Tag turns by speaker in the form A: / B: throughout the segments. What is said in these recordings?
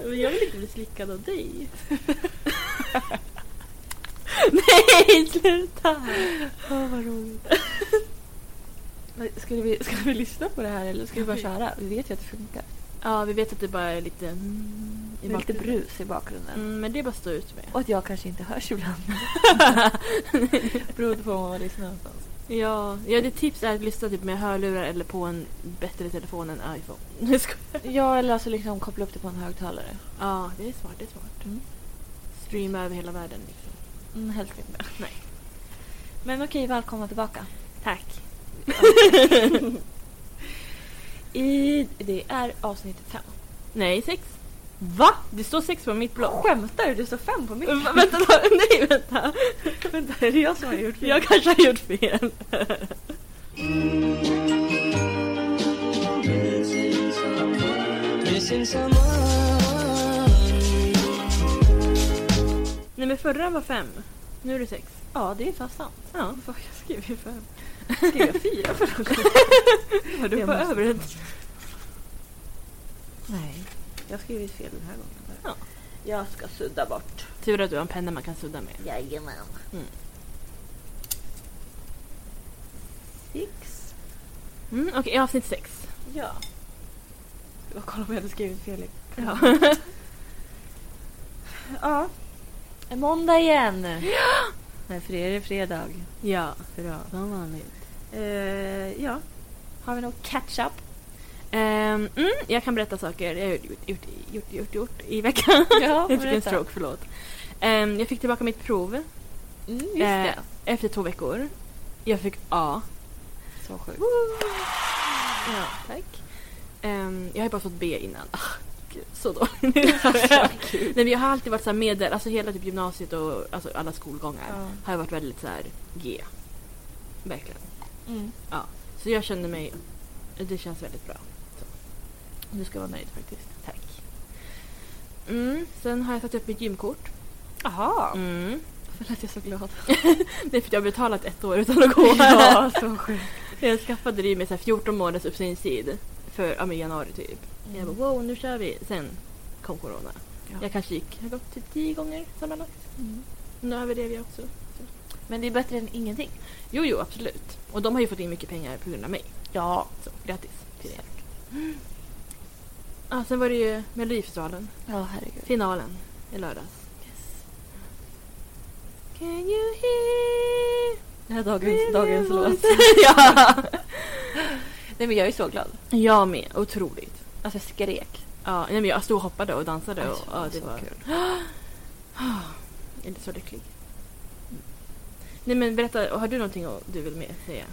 A: Men jag vill inte bli slickad av dig. Nej, sluta!
B: Åh, vad roligt. Men Skulle vi, ska vi lyssna på det här eller ska vi bara köra? Vi vet ju att det funkar.
A: Ja, vi vet att det bara är lite... mm,
B: Det är lite
A: bak-
B: brus i bakgrunden.
A: Mm, men det är bara att stå ut med.
B: Och att jag kanske inte hörs ibland. Beroende på var man lyssnar någonstans.
A: Ja, ja, ditt tips är att lyssna typ med hörlurar eller på en bättre telefon än iPhone. Jag skojar.
B: Ja, eller alltså liksom koppla upp det på en högtalare.
A: Ja, det är smart. Det är smart.
B: Mm.
A: Streama över hela världen. Liksom.
B: Mm, helst inte.
A: Nej.
B: Men okej, välkomna tillbaka.
A: Tack.
B: I, det är avsnitt fem.
A: Nej, sex.
B: Va?
A: Det står sex på mitt blogg.
B: Skämtar du? Det står fem på mitt.
A: Va- vänta, va- nej vänta.
B: Vänta, är det jag som har gjort fel?
A: Jag kanske har gjort fel.
C: Missing someone.
A: Nej men förra var fem. Nu är det sex.
B: Ja, det är fan sant.
A: Ja.
B: Fan, jag skrev ju fem. Skrev jag fyra för någon gång?
A: Har du
B: Jag
A: på
B: måste-
A: övrigt?
B: Nej, jag har skrivit fel den här gången.
A: Ja.
B: Jag ska sudda bort.
A: Tur att du har en penna man kan sudda med.
B: Jajamän.
A: Mm.
B: Six.
A: Mm, Okej, avsnitt sex.
B: Ja. Jag var kolla om jag hade skrivit fel.
A: Ja.
B: Ja. En måndag igen. Nej, för det är det fredag.
A: ja,
B: Bra.
A: som vanligt.
B: Eh, ja. Har vi någon catch-up?
A: Ehm, mm, jag kan berätta saker jag har gjort, gjort, gjort, gjort, gjort, gjort i veckan.
B: Ja,
A: jag fick en
B: berätta.
A: stroke, förlåt. Ehm, jag fick tillbaka mitt prov
B: Mm, just
A: Eh, efter två veckor. Jag fick A.
B: Så sjukt.
A: Ja, tack. Ehm, jag har ju bara fått B innan. Ah, gud, så dåligt. Nej, men jag har alltid varit så här medel, alltså hela typ gymnasiet och alltså alla skolgångar
B: Ja.
A: har jag varit väldigt så här G. Verkligen.
B: Mm.
A: Så jag kände mig, det känns väldigt bra. Så. Du ska vara nöjd faktiskt. Tack. Mm, sen har jag satt upp mitt gymkort.
B: Aha.
A: Mm.
B: Varför lät jag så glad?
A: Det är för att jag har betalat ett år utan att gå.
B: så sjukt.
A: Jag skaffade det ju med så här 14 månaders uppsägningstid. För ja, men januari typ. Jag bara wow, nu kör vi. Sen kom corona.
B: Ja.
A: Jag kanske gick, jag har gått typ 10 gånger sammanlagt.
B: Mm.
A: Nu överlever jag också.
B: Men det är bättre än ingenting.
A: Jo, jo, absolut. Och de har ju fått in mycket pengar på grund av mig.
B: Ja.
A: Så grattis till er. Ja, sen var det ju Melodifestivalen.
B: Ja, herregud.
A: Finalen i lördags. Can you hear
B: Det här är dagens, dagens
A: me
B: låt.
A: voice? ja.
B: Nej men jag är så glad.
A: Jag med. Otroligt.
B: Alltså jag skrek.
A: Ja, nej, men jag stod och hoppade och dansade. Och,
B: Alltså,
A: ja, det
B: så
A: var...
B: kul.
A: Jag är inte så lycklig. Nej men berätta, har du någonting du vill med säga?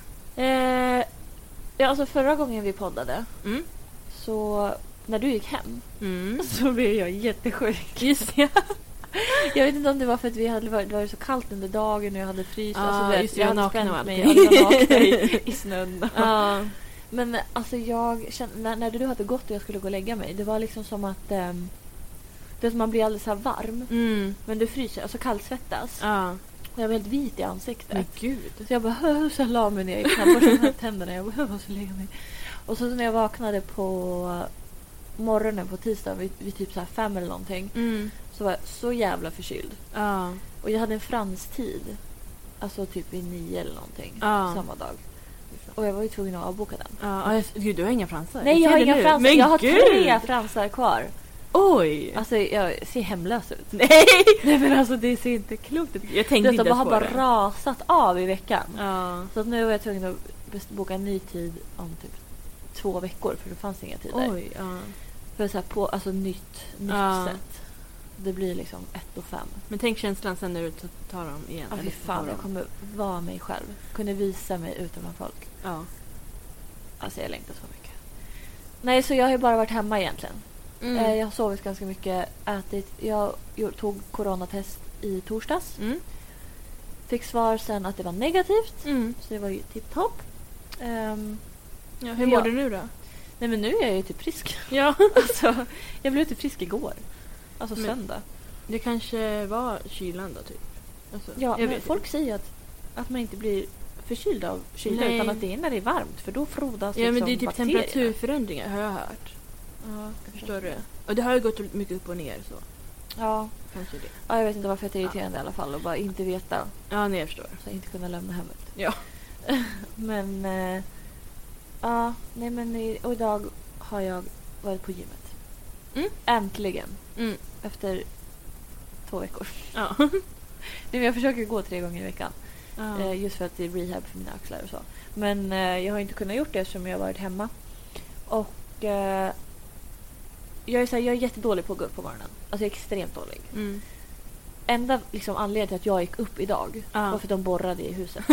B: Eh, ja, alltså förra gången vi poddade
A: Mm.
B: så när du gick hem
A: Mm.
B: så blev jag jättesjuk.
A: Just det.
B: Jag vet inte om det var för att vi hade varit, det var så kallt under dagen och jag hade fryst.
A: Ja,
B: alltså, du vet,
A: Ah, just det,
B: jag
A: jag
B: hade
A: nakna och
B: spänt
A: allt.
B: mig. Ja, jag var naken i, i snön.
A: Ja.
B: Men alltså jag kände, när, när du hade gått och jag skulle gå och lägga mig. Det var liksom som att ehm, det är som att man blir alldeles så här varm.
A: Mm.
B: Men du fryser, alltså kallsvettas.
A: Ja.
B: Och jag var helt vit i ansiktet.
A: Men gud.
B: Så jag bara "Hö, hö", så jag la mig ner, jag borstade med tänderna. Jag bara "Hö, måste lägga mig. Och så när jag vaknade på morgonen på tisdagen vid, vid typ så här fem eller någonting
A: Mm.
B: så var jag så jävla förkyld.
A: Ja.
B: Och jag hade en franstid. Alltså typ vid nio eller någonting
A: Ja.
B: samma dag. Och jag var ju tvungen att avboka den.
A: Ja, jag- gud du har inga fransar.
B: Nej jag
A: ser
B: har
A: det
B: inga
A: nu.
B: fransar.
A: Men
B: jag har
A: gud.
B: tre fransar kvar.
A: Oj!
B: Alltså jag ser hemlös ut.
A: nej!
B: Nej men alltså det ser inte klokt ut.
A: Jag
B: Du
A: tänkte
B: vet,
A: inte
B: de
A: ens
B: har
A: på
B: bara
A: det.
B: rasat av i veckan.
A: Ja.
B: Så att nu var jag tvungen att bes- boka en ny tid om typ två veckor för det fanns inga tider.
A: Oj, ja.
B: För så här på, alltså nytt, nytt
A: Ja.
B: sätt. Det blir liksom ett och fem.
A: Men tänk känslan sen när du t- tar dem igen.
B: Ja, fy
A: eller
B: fan,
A: får
B: jag
A: dem.
B: kommer vara mig själv. Kunna visa mig utan bland folk.
A: Ja.
B: Alltså jag längtar så mycket. Nej, så jag har ju bara varit hemma egentligen.
A: Mm.
B: Eh, Jag har sovit ganska mycket, ätit. Jag gjorde- tog coronatest i torsdags.
A: Mm.
B: Fick svar sen att det var negativt.
A: Mm.
B: Så det var ju tipptopp. Ehm,
A: Ja, hur mår
B: Ja.
A: du nu då?
B: nej men nu är jag ju typ frisk.
A: Ja.
B: Alltså, jag blev typ frisk igår. Alltså
A: Men-
B: söndag.
A: Det kanske var kylan då typ? Alltså,
B: Ja,
A: jag
B: men
A: vet
B: folk säger ju att, att man inte blir förkyld av kyla
A: Nej.
B: utan att det är när det är varmt för då frodas
A: inte. Ja men det är
B: liksom
A: typ
B: bakterierna.
A: temperaturförändringar har jag hört.
B: Ja, jag
A: Förstår du? Och det har ju gått mycket upp och ner så.
B: Ja.
A: Kanske det.
B: ja, jag vet inte varför det är irriterande i alla fall att bara inte veta.
A: Ja, nej jag förstår.
B: Så jag inte kunna lämna hemmet.
A: Ja.
B: men... eh, Ja, nej men i, och idag har jag varit på gymmet.
A: Mm.
B: Äntligen.
A: Mm.
B: Efter två veckor.
A: Ja.
B: Nej, men jag försöker gå tre gånger i veckan.
A: Ja.
B: Eh, just för att det är rehab för mina axlar och så. Men eh, jag har inte kunnat gjort det eftersom jag har varit hemma. Och... Eh, jag, är så här, jag är jättedålig på att gå upp på morgonen. Alltså jag är extremt dålig.
A: Mm.
B: Enda liksom, anledningen till att jag gick upp idag
A: Ja.
B: var för att de borrade i huset.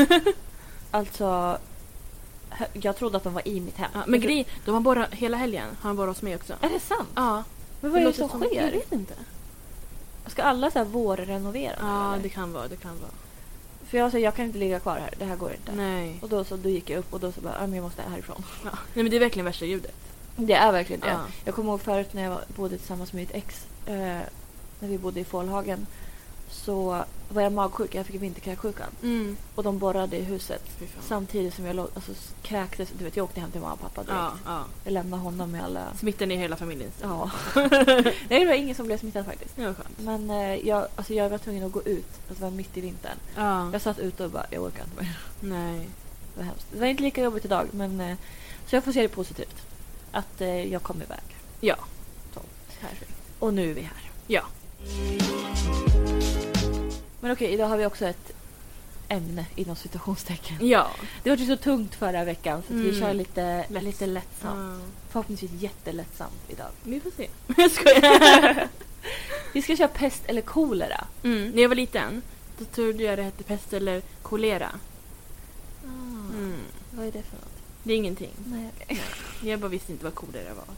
B: alltså... hö- Jag trodde att de var i mitt hem.
A: Ja, men
B: Jag tro-
A: grejen, de har bara hela helgen har han bara oss med också.
B: Är det sant?
A: Ja.
B: Men vad är det
A: låter
B: som
A: Jag
B: sker?
A: vet inte.
B: Ska alla så här vårrenovera? nu,
A: Ja,
B: eller?
A: det kan vara. Det kan vara.
B: För jag sa jag kan inte ligga kvar här. Det här går inte.
A: Nej.
B: Och då, så, då gick jag upp och då så bara, "Ah, men jag måste härifrån.
A: Ja. Nej, men det är verkligen värsta ljudet.
B: Det är verkligen det.
A: Ja.
B: Jag kommer ihåg förut när jag var- bodde tillsammans med mitt ex. Eh, när vi bodde i Fålhagen. Så var jag magsjuk. Jag fick vinterkräksjukan.
A: Mm.
B: Och de borrade i huset.
A: Fy fan.
B: Samtidigt som jag låg, alltså, s- kräktes. Du vet, jag åkte hem till mamma och pappa direkt.
A: Ja, ja.
B: Jag lämnade honom med alla...
A: Smittan i hela familjen.
B: Ja. Nej, det var ingen som blev smittad faktiskt.
A: Det var skönt.
B: Men eh, jag, alltså, jag var tvungen att gå ut. Alltså, det var mitt i vintern.
A: Ja.
B: Jag satt ute och bara, jag orkar inte mer.
A: Nej.
B: Det var hemskt. Det var inte lika jobbigt idag, men... Eh, så jag får se det positivt. Att eh, jag kom iväg.
A: Ja.
B: Så. Och nu är vi här.
A: Ja.
B: Men okej, idag har vi också ett ämne inom citationstecken.
A: Ja.
B: Det var ju så tungt förra veckan så att vi
A: Mm.
B: kör lite,
A: Lätt.
B: lite lättsamt.
A: ja.
B: Förhoppningsvis jättelättsamt idag.
A: Mm, Vi får se. Jag skojar.
B: Vi ska köra pest eller kolera.
A: Mm. När jag var liten då trodde jag det hette pest eller kolera. Mm.
B: Vad är det för något?
A: Det är ingenting.
B: Nej, okej.
A: Jag bara visste inte vad kolera var. så.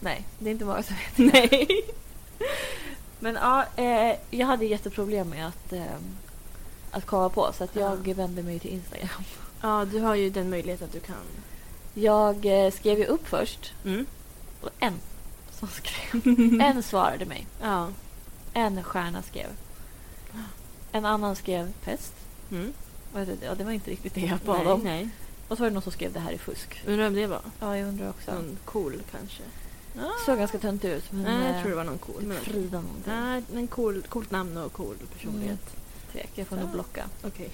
B: Nej, det är inte många som vet.
A: Nej.
B: Men ja, eh, jag hade jätteproblem med att, eh, att komma på så att jag vände mig till Instagram.
A: Ja, du har ju den möjligheten att du kan.
B: Jag eh, skrev ju upp först
A: Mm.
B: och en som skrev. En svarade mig.
A: Ja.
B: En stjärna skrev. En annan skrev pest.
A: Mm.
B: Vad heter det? Ja, det var inte riktigt det jag bad om.
A: Nej, nej.
B: Och så var det någon som skrev det här är fusk.
A: Undrar vem det var?
B: Ja, jag undrar också.
A: Någon cool kanske? Ah.
B: Såg ganska tönt ut. Men,
A: Mm. Nej, jag tror
B: eh,
A: det var någon cool. Men...
B: Frida någonting.
A: Nej, men cool, coolt namn och cool personlighet.
B: Tvek, jag får nog
A: Ja.
B: blocka.
A: Okej.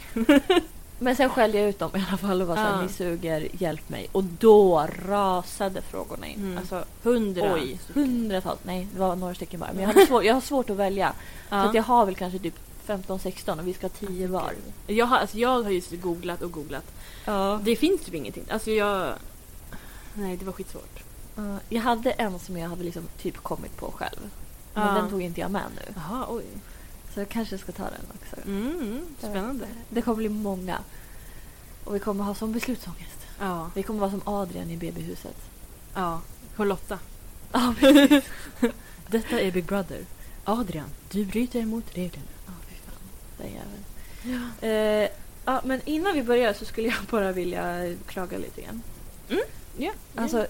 B: Men sen skällde jag ut dem i alla fall och var såhär,
A: Ja.
B: ni suger, hjälp mig. Och då rasade frågorna in.
A: Mm.
B: Alltså,
A: Hundra.
B: oj, hundratals. Nej, det var några stycken bara. Men jag, hade svår, jag har svårt att välja.
A: Ja.
B: Så att jag har väl kanske typ 15-16 och vi ska ha 10 var.
A: Jag har, alltså, jag har just googlat och googlat.
B: Ja.
A: Det finns typ ingenting. Alltså jag... Nej, det var skitsvårt.
B: Jag hade en som jag hade liksom typ kommit på själv. Men
A: Ja.
B: den tog inte jag med nu.
A: Jaha, oj.
B: Så jag kanske ska ta den också.
A: Mm, spännande.
B: Det kommer bli många. Och vi kommer ha som beslutsångest.
A: Ja.
B: Vi kommer vara som Adrian i BB-huset.
A: ja. Charlotta.
B: Ja, precis.
A: Detta är Big Brother. Adrian, du bryter mot reglerna.
B: Ja, fy fan. Den jäveln.
A: Ja.
B: Eh, ja, men innan vi börjar så skulle jag bara vilja klaga lite grann.
A: Ja.
B: Alltså,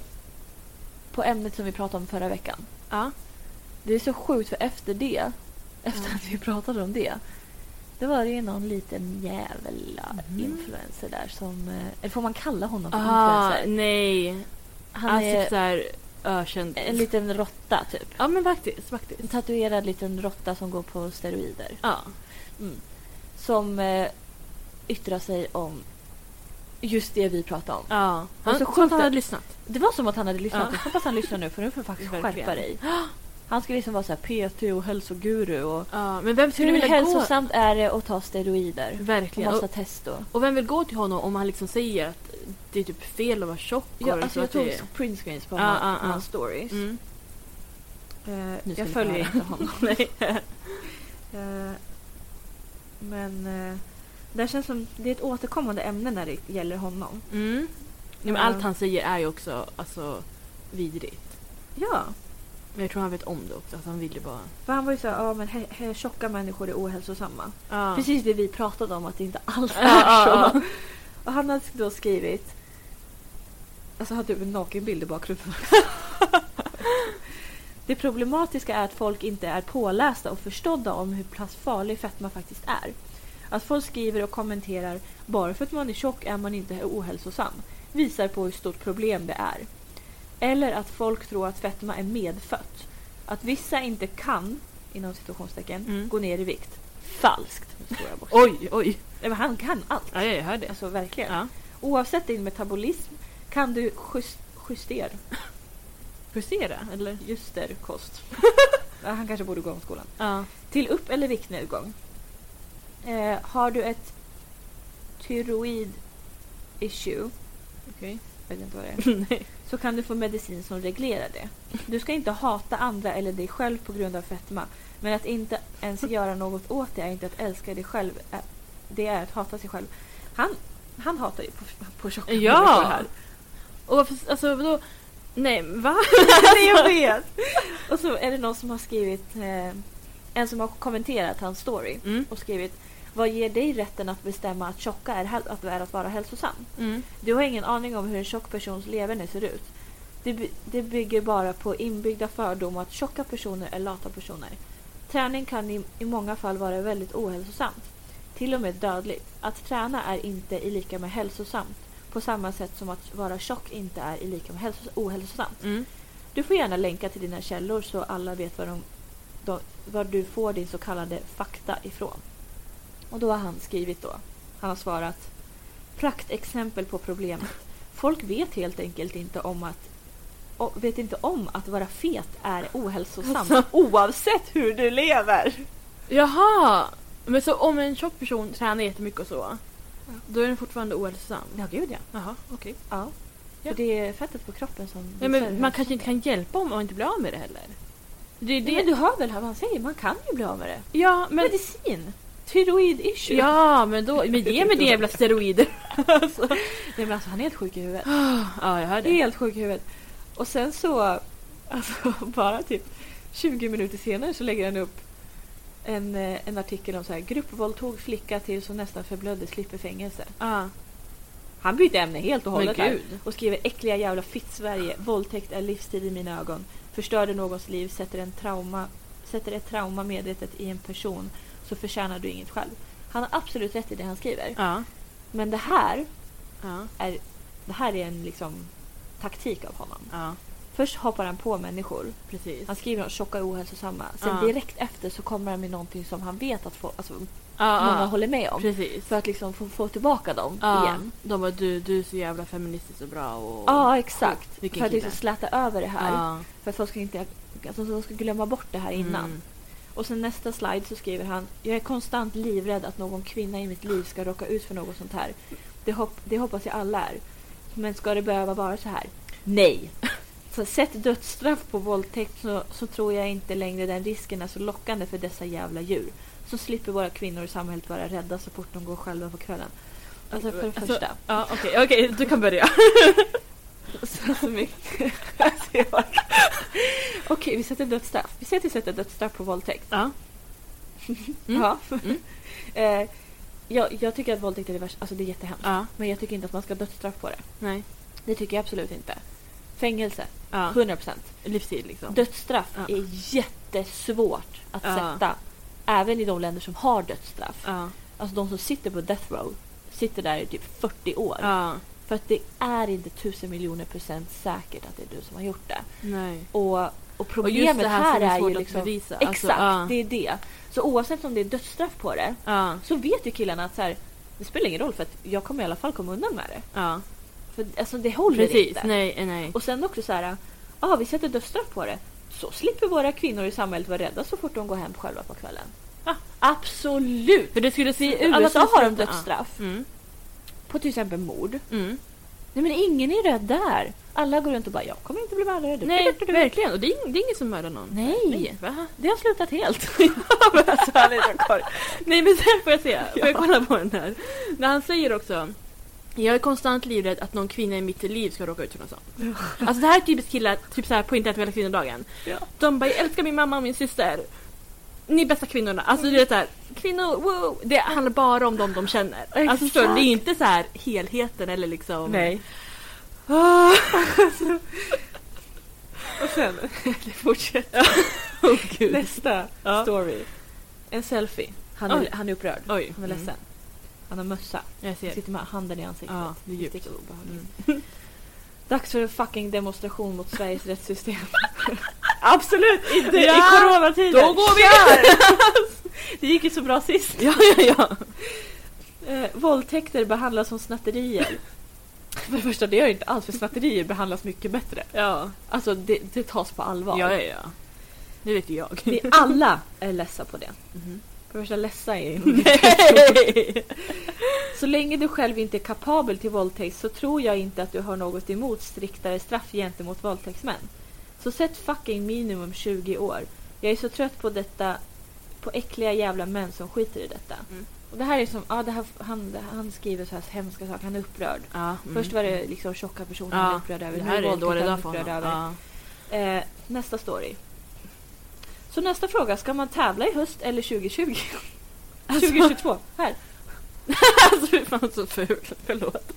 B: på ämnet som vi pratade om förra veckan.
A: ja.
B: Det är så sjukt för efter det, efter att vi pratade om det, det var det ju någon liten jävla
A: Mhm.
B: influencer där som... eh, Eller får man kalla honom för
A: Ah,
B: influencer?
A: nej.
B: Han
A: alltså
B: är
A: typ såhär ökänd.
B: en liten råtta typ.
A: Ja men faktiskt, faktiskt.
B: En tatuerad liten råtta som går på steroider.
A: Ja.
B: Som eh, yttrar sig om just det vi pratade om.
A: ja.
B: Det är
A: Han,
B: så
A: så
B: sjukt
A: sjukt att han
B: att-
A: hade lyssnat.
B: Det var som att han hade lyssnat.
A: Ja.
B: Jag hoppas han lyssnar nu för nu får du faktiskt
A: Verkligen.
B: skärpa dig. Han ska liksom vara så här PT och hälsoguru. Och
A: Ja, men vem skulle
B: hur
A: vilja
B: hälsosamt är det att ta steroider?
A: gå?
B: Och
A: Verkligen.
B: massa
A: Och,
B: testo.
A: och vem vill gå till honom om han liksom säger att det är typ fel att vara tjock? och
B: Jag, alltså,
A: så
B: jag
A: att
B: tog
A: det...
B: printscreens på
A: Ja,
B: hans
A: ja, ja.
B: hans stories.
A: Mm.
B: Eh,
A: Nu ska
B: jag
A: ni
B: följer
A: höra.
B: inte honom.
A: Nej.
B: Eh, men eh, det känns som det är ett återkommande ämne när det gäller honom.
A: Mm. Ja, men
B: Ja.
A: allt han säger är ju också alltså, vidrigt.
B: Ja,
A: Men jag tror han vet om det också, att han ville bara...
B: för han var ju så här, ja men he, he, tjocka människor är ohälsosamma.
A: Ja.
B: Precis det vi pratade om att det inte alls
A: Ja,
B: är
A: ja,
B: så. Och han hade då skrivit... Alltså har du en nakenbild i bakgrunden? det problematiska är att folk inte är pålästa och förstådda om hur pass farlig fetma faktiskt är. Att folk skriver och kommenterar bara för att man är tjock är man inte ohälsosam visar på hur stort problem det är. Eller att folk tror att fetma är medfött. Att vissa inte kan, inom situationstecken,
A: Mm.
B: gå ner i vikt. Falskt! Nu står jag bort.
A: Oj, oj.
B: Nej, men han kan allt.
A: Ja, jag hör det.
B: Alltså verkligen.
A: Ja.
B: Oavsett din metabolism kan du just, justera,
A: Justera, eller?
B: juster kost. Ja, han kanske borde gå om skolan.
A: Ja.
B: Till upp eller viktnedgång. Eh, har du ett tyroid issue,
A: Okej.
B: jag vet inte vad det är,
A: Nej.
B: så kan du få medicin som reglerar det. Du ska inte hata andra eller dig själv på grund av fetma. Men att inte ens göra något åt det är inte att älska dig själv. eh, Det är att hata sig själv. Han, han hatar ju på, på tjocka
A: Ja.
B: människor här.
A: Och varför, alltså vadå? Nej, va? Alltså.
B: Nej, jag vet. Och så är det någon som har skrivit, eh, en som har kommenterat hans story
A: Mm.
B: och skrivit Vad ger dig rätten att bestämma att tjocka är, häl- att, är att vara hälsosam?
A: Mm.
B: Du har ingen aning om hur en tjock persons leverne ser ut. Det, by- det bygger bara på inbyggda fördomar att tjocka personer är lata personer. Träning kan i, i många fall vara väldigt ohälsosamt. Till och med dödligt. Att träna är inte i lika med hälsosamt. På samma sätt som att vara tjock inte är i lika med hälsos- ohälsosamt.
A: Mm.
B: Du får gärna länka till dina källor så alla vet var, de, de, var du får din så kallade fakta ifrån. Och då har han skrivit då. Han har svarat praktexempel på problemet. Folk vet helt enkelt inte om att o- vet inte om att vara fet är ohälsosamt
A: Alltså.
B: oavsett hur du lever.
A: Jaha! Men så om en tjock person tränar jättemycket och så, då är den fortfarande ohälsosam?
B: Ja, gud ja.
A: Jaha, okej.
B: ja.
A: Ja.
B: För det är fettet på kroppen som...
A: Nej,
B: visar
A: men
B: hur
A: man kanske inte kan hjälpa om man inte blir av med det heller. Det är
B: Nej,
A: det
B: Men du hör väl vad han säger? Man kan ju bli av med det.
A: Ja, men...
B: Medicin! Tyroid issue.
A: Ja, men då... Men ge mig det jävla steroider!
B: alltså. Nej men alltså han är helt sjuk i huvudet.
A: Ah, Ja, jag hör det.
B: Helt sjuk i huvudet. Och sen så, alltså bara typ 20 minuter senare så lägger han upp en, eh, en artikel om så här gruppvåldtog flicka till som nästan förblödde slipper fängelse.
A: Ja.
B: Han bytte ämne helt och
A: Ah. Men
B: hållet där.
A: gud.
B: Och skriver äckliga jävla fitt-Sverige. Våldtäkt är livstid i mina ögon. Förstörde någons liv, sätter, en trauma, sätter ett trauma medvetet i en person så förtjänar du inget själv. Han har absolut rätt i det han skriver.
A: Ja.
B: Men det här
A: Ja.
B: är, det här är en liksom taktik av honom.
A: Ja,
B: Först hoppar han på människor.
A: Ah. precis.
B: Han skriver om tjocka och ohälsosamma. Sen
A: Ja.
B: direkt efter så kommer han med någonting som han vet att få, alltså, många
A: Ja,
B: håller med
A: ja.
B: om.
A: Ah, Precis.
B: För att liksom få, få tillbaka dem
A: Ja,
B: igen.
A: de bara du, du är så jävla feministisk och bra och...
B: Ja, exakt.
A: Sjukt, vilken
B: för att liksom
A: kille.
B: släta över det här.
A: Ja.
B: För att folk ska, inte, alltså, de ska glömma bort det här innan.
A: Mm.
B: Och sen nästa slide så skriver han Jag är konstant livrädd att någon kvinna i mitt liv ska råka ut för något sånt här. Det, hopp, det hoppas jag alla är. Men ska det behöva vara så här? Nej! Så sätt dödsstraff på våldtäkt så, så tror jag inte längre den risken är så lockande för dessa jävla djur. Så slipper våra kvinnor i samhället vara rädda så fort de går själva på kvällen. Alltså för det
A: Alltså,
B: första.
A: Ja, okej, okej, du kan börja.
B: Så mycket. Alltså, jag bara- Okej, vi sätter dödsstraff. Vi säger att vi sätter dödsstraff på våldtäkt.
A: Ja. Mm.
B: Ja.
A: Mm.
B: eh, jag, jag tycker att våldtäkt är det värsta. Alltså det är jättehemskt.
A: Ja,
B: Men jag tycker inte att man ska ha dödsstraff på det.
A: Ah, nej.
B: Det tycker jag absolut inte. Fängelse,
A: Ja.
B: 100%.
A: Livstid liksom.
B: Dödsstraff
A: Ja.
B: är jättesvårt att
A: Ja.
B: sätta. Även i de länder som har dödsstraff.
A: Ja.
B: Alltså de som sitter på death row sitter där i typ 40 år.
A: Ja.
B: För att det är inte tusen miljoner procent säkert att det är du som har gjort det.
A: Nej.
B: Och, och
A: Och
B: problemet
A: just det här, som
B: är,
A: är svårt
B: ju
A: att
B: liksom...
A: bevisa.
B: Exakt,
A: Alltså, ja.
B: det är det. Så oavsett om det är dödsstraff på det
A: Ja.
B: så vet ju killarna att så här, det spelar ingen roll för att jag kommer i alla fall komma undan med det.
A: Ja.
B: För alltså, det håller
A: ah. Precis,
B: inte.
A: nej, eh, nej.
B: Och sen också så här, ja vi sätter dödsstraff på det. Så slipper våra kvinnor i samhället vara rädda så fort de går hem själva på kvällen.
A: Ja.
B: Absolut!
A: För det skulle se
B: I
A: ut...
B: USA har de
A: Ja.
B: dödsstraff.
A: Mm.
B: På till exempel mord.
A: Mm.
B: Nej men ingen är rädd där. Alla går runt och bara, jag kommer inte bli mördare. Du-
A: Nej,
B: du- du- du-
A: verkligen. Och det är, ing- det är ingen som mördar någon.
B: Nej!
A: Va?
B: Det har slutat helt. Alltså,
A: Nej men sen får jag se. Får jag kolla på den här? När han säger också jag är konstant livrädd att någon kvinna i mitt liv ska råka ut för något sånt. Alltså det här är typiskt killar, typ såhär på internationella kvinnodagen.
B: Ja.
A: De bara jag älskar min mamma och min syster. Ni är bästa kvinnorna. Alltså du vet såhär, kvinnor, wow. Det handlar bara om dem de känner. Alltså förstår du? Det är ju inte så här helheten eller liksom...
B: Nej.
A: Ah,
B: Och sen, det fortsätter.
A: oh, gud.
B: Nästa
A: Ja.
B: story. En selfie. Han
A: Oj.
B: är, han är upprörd.
A: Oj.
B: Han är ledsen. Han har mössa.
A: Jag ser.
B: Sitter med handen i ansiktet.
A: Ja, det är djupt.
B: Riktigt obehagligt. Dags för en fucking demonstration mot Sveriges rättssystem. Absolut inte
A: Ja,
B: i coronatider.
A: då går vi.
B: det gick ju så bra sist.
A: Ja, ja, ja.
B: Eh, våldtäkter behandlas som snatterier. För det första, det gör det inte alls för snatterier behandlas mycket bättre.
A: Ja,
B: Alltså det, det tas på allvar.
A: ja, ja. ja. Det vet ju jag.
B: Vi alla är ledsa på det.
A: Mhm.
B: För det första, ledsa är
A: Nej!
B: Så länge du själv inte är kapabel till våldtäkt så tror jag inte att du har något emot striktare straff gentemot våldtäktsmän. Så sätt fucking minimum 20 år. Jag är så trött på detta, på äckliga jävla män som skiter i detta.
A: Mm.
B: Och det här är som, ja, det här, han, han skriver så här hemska saker, han är upprörd.
A: Ja, mm.
B: Först var det liksom tjocka personer han är
A: Ja,
B: upprörd över,
A: det
B: nu
A: här är en
B: våldtäkt
A: dålig
B: han
A: dag för
B: upprörd
A: honom.
B: över.
A: Ja.
B: Eh, nästa story. Så nästa fråga, ska man tävla i höst eller 2020?
A: Alltså-
B: 2022, här.
A: Alltså fy fan så fult, förlåt.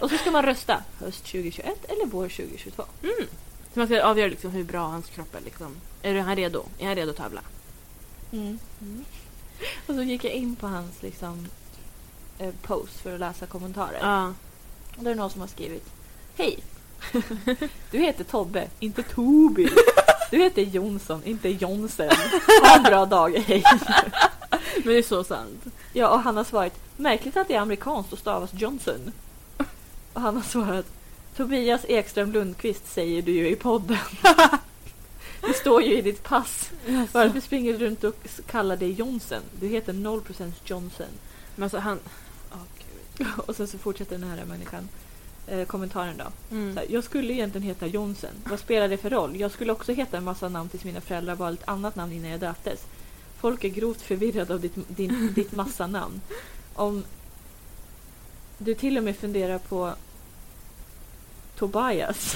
B: Och så ska man rösta höst 2021 eller vår 2022.
A: Så man ska avgöra liksom hur bra hans kropp är. Liksom. Är han redo? Är han redo att tävla? Mm.
B: Mm. Och så gick jag in på hans liksom, eh, post för att läsa kommentarer.
A: Ja.
B: Och då är det någon som har skrivit Hej! Du heter Tobbe, inte Tobi. Du heter Jonsson, inte Jonsen. Ha en bra dag, hej!
A: Men det är så sant.
B: Ja, och han har svarat Märkligt att det är amerikanskt och stavas Johnson. Och han har svarat Tobias Ekström Lundqvist säger du ju i podden. Det står ju i ditt pass. Varför springer du runt och s- kallar dig Johnson? Du heter 0% Johnson.
A: Men alltså han...
B: Och sen så fortsätter den här människan eh, kommentaren då. Så
A: Mm.
B: här, jag skulle egentligen heta Johnson. Vad spelar det för roll? Jag skulle också heta en massa namn tills mina föräldrar valde ett annat namn innan jag döptes. Folk är grovt förvirrade av ditt, din, ditt massa namn. Om du till och med funderar på Tobias.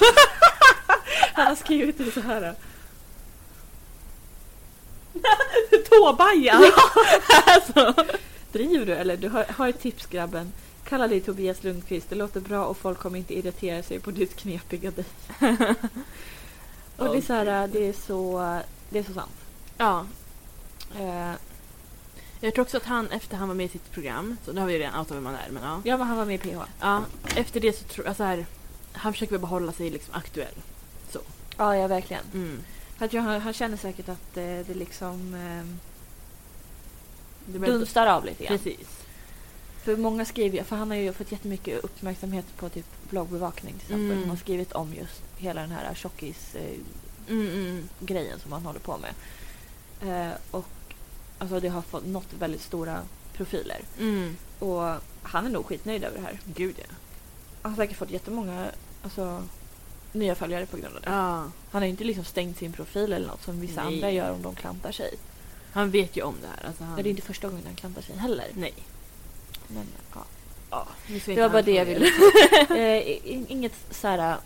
B: Han har skrivit det så här. Tobias! alltså. Driver du eller? Du har, har ett tips grabben. Kalla dig Tobias Lundqvist, det låter bra och folk kommer inte irritera sig på ditt knepiga dig. och det är så här, det är så, det är så sant.
A: Ja.
B: Eh,
A: Jag tror också att han, efter han var med i sitt program, så nu har vi ju redan outat vem han är, men ja.
B: ja men han var med i PH.
A: ja. Efter det så tror jag så här, han försöker väl behålla sig liksom aktuell.
B: Ja, ja verkligen.
A: Mm.
B: Jag tror han, han känner säkert att eh, det liksom eh,
A: Det blir-
B: dunstar av lite grann.
A: Precis.
B: För många skriver, för han har ju fått jättemycket uppmärksamhet på typ bloggbevakning till exempel.
A: Mm.
B: Som har skrivit om just hela den här tjockis eh,
A: Mm, mm.
B: grejen som han håller på med. Eh, och alltså, det har fått nått väldigt stora profiler.
A: Mm.
B: Och han är nog skitnöjd över det här.
A: Gud ja.
B: Han har säkert fått jättemånga alltså, nya följare på grund av det.
A: ja.
B: Han har ju inte liksom stängt sin profil eller något som vissa
A: Nej.
B: andra gör om de klantar sig.
A: Han vet ju om det här. Alltså han...
B: Men det är inte första gången han klantar sig heller.
A: Nej.
B: Men, ja.
A: Vi ska
B: Det
A: inte
B: var bara det jag
A: anklaga.
B: ville eh, i- inget så här...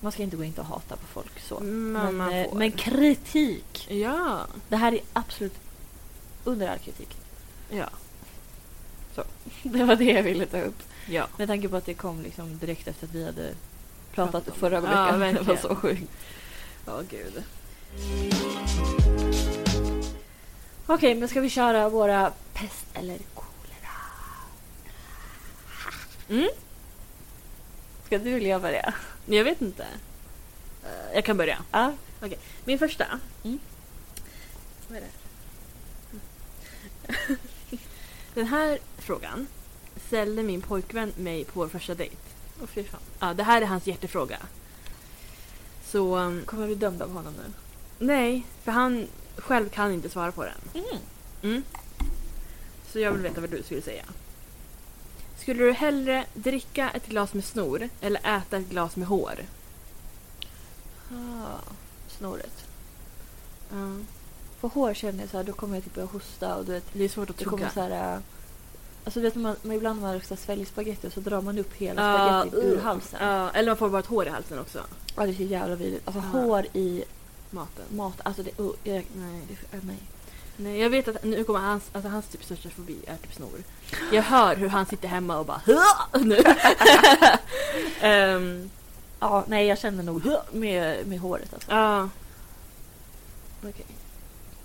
B: Man ska inte gå in och hata på folk så.
A: Men, man
B: men, eh,
A: får.
B: men kritik!
A: Ja.
B: Det här är absolut under all kritik.
A: Ja.
B: Det var det jag ville ta upp.
A: Ja.
B: Med tanke på att det kom liksom direkt efter att vi hade pratat,
A: Pratat om
B: förra
A: det.
B: veckan.
A: Ja,
B: det var
A: verkligen.
B: så sjukt. Ja, gud. Okej, men ska vi köra våra pest eller kolera?
A: Mm.
B: Ska du eller jag börja?
A: Jag vet inte. Eh, Jag kan börja.
B: Ja.
A: Min första.
B: Mm.
A: Vad är det här? Den här frågan ställde min pojkvän mig på vår första dejt.
B: Åh fy fan.
A: Ja, det här är hans hjärtefråga. Så um,
B: Kommer jag bli dömd av honom nu?
A: nej, för han själv kan inte svara på den.
B: Mm.
A: Mm. Så jag vill veta vad du skulle säga. Skulle du hellre dricka ett glas med snor eller äta ett glas med hår?
B: Ah, snoret.
A: Ja.
B: På hår känner jag så här, då kommer jag typ börja hosta och du vet,
A: Det är svårt att
B: det kommer
A: tugga.
B: så här... äh, Alltså du vet, man, man, ibland när man ska svälja spagetti så drar man upp hela
A: Ja,
B: spagettin ur
A: uh.
B: halsen.
A: Ja, eller man får bara ett hår i halsen också.
B: Ja, det är så jävla vidrigt. Alltså
A: Ja.
B: hår i
A: Maten.
B: mat, alltså det... Uh, jag,
A: Nej.
B: det- äh, nej.
A: Nej, jag vet att nu kommer hans, alltså hans typ största fobi är typ snor. Jag hör hur han sitter hemma och bara "Hö!" nu. Ehm,
B: Ja, nej jag känner nog "Huh!" med, med håret alltså.
A: Ja,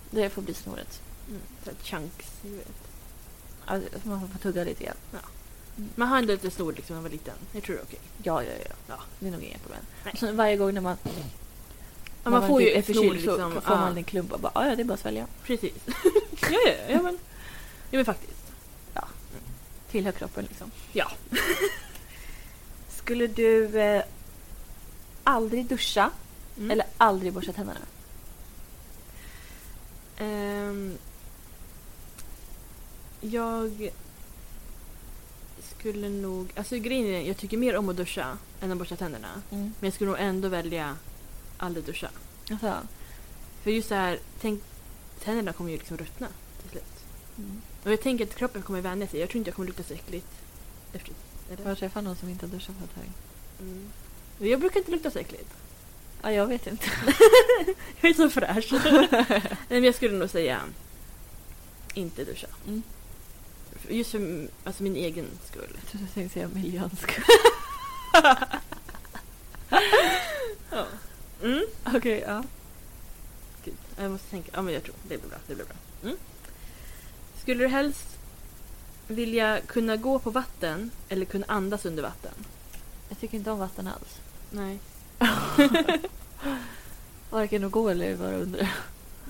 B: Det får bli snoret.
A: mm, så här chunks. du vet.
B: Alltså, man får tugga lite igen.
A: Man har ändå lite snor liksom när man var liten. Jag tror det är okej.
B: Ja, ja, ja.
A: Ja.
B: Det är nog inga problem.
A: Nej.
B: Och sen varje gång när man
A: man, man får ju
B: typ är
A: ett snor
B: förkyld
A: liksom.
B: så får man
A: ja,
B: en klump och bara "Ah, ja, det är bara att svälja.
A: precis. ja, ja, ja, men, ja men faktiskt.
B: Tillhör kroppen liksom.
A: Ja.
B: Skulle du eh, aldrig duscha
A: Mm.
B: eller aldrig borsta tänderna?
A: Ehm, jag skulle nog... Alltså grejen är, jag tycker mer om att duscha än att borsta tänderna.
B: Mm.
A: Men jag skulle nog ändå välja aldrig duscha.
B: Alltså,
A: För just så här, tänk, tänderna kommer ju liksom ruttna till slut.
B: mm.
A: Och jag tänker att kroppen kommer vänja sig. Jag tror inte jag kommer lukta så äckligt. Efter,
B: Jag
A: eller?
B: har träffat någon som inte har duschat på ett tag.
A: Mm. Men Jag brukar inte lukta så äckligt.
B: Ja, jag vet inte.
A: Jag är så fräsch. Nej, men jag skulle nog säga inte duscha.
B: Mm.
A: Just för alltså, min egen skull.
B: Jag trodde du tänkte säga miljöns skull.
A: Mm.
B: Okej, ja.
A: Gud, jag måste tänka. Ja, men jag tror det blir bra. Det blir bra. Mm. Skulle du helst vilja kunna gå på vatten eller kunna andas under vatten?
B: Jag tycker inte om vatten alls.
A: Nej.
B: Varken att gå eller vara under.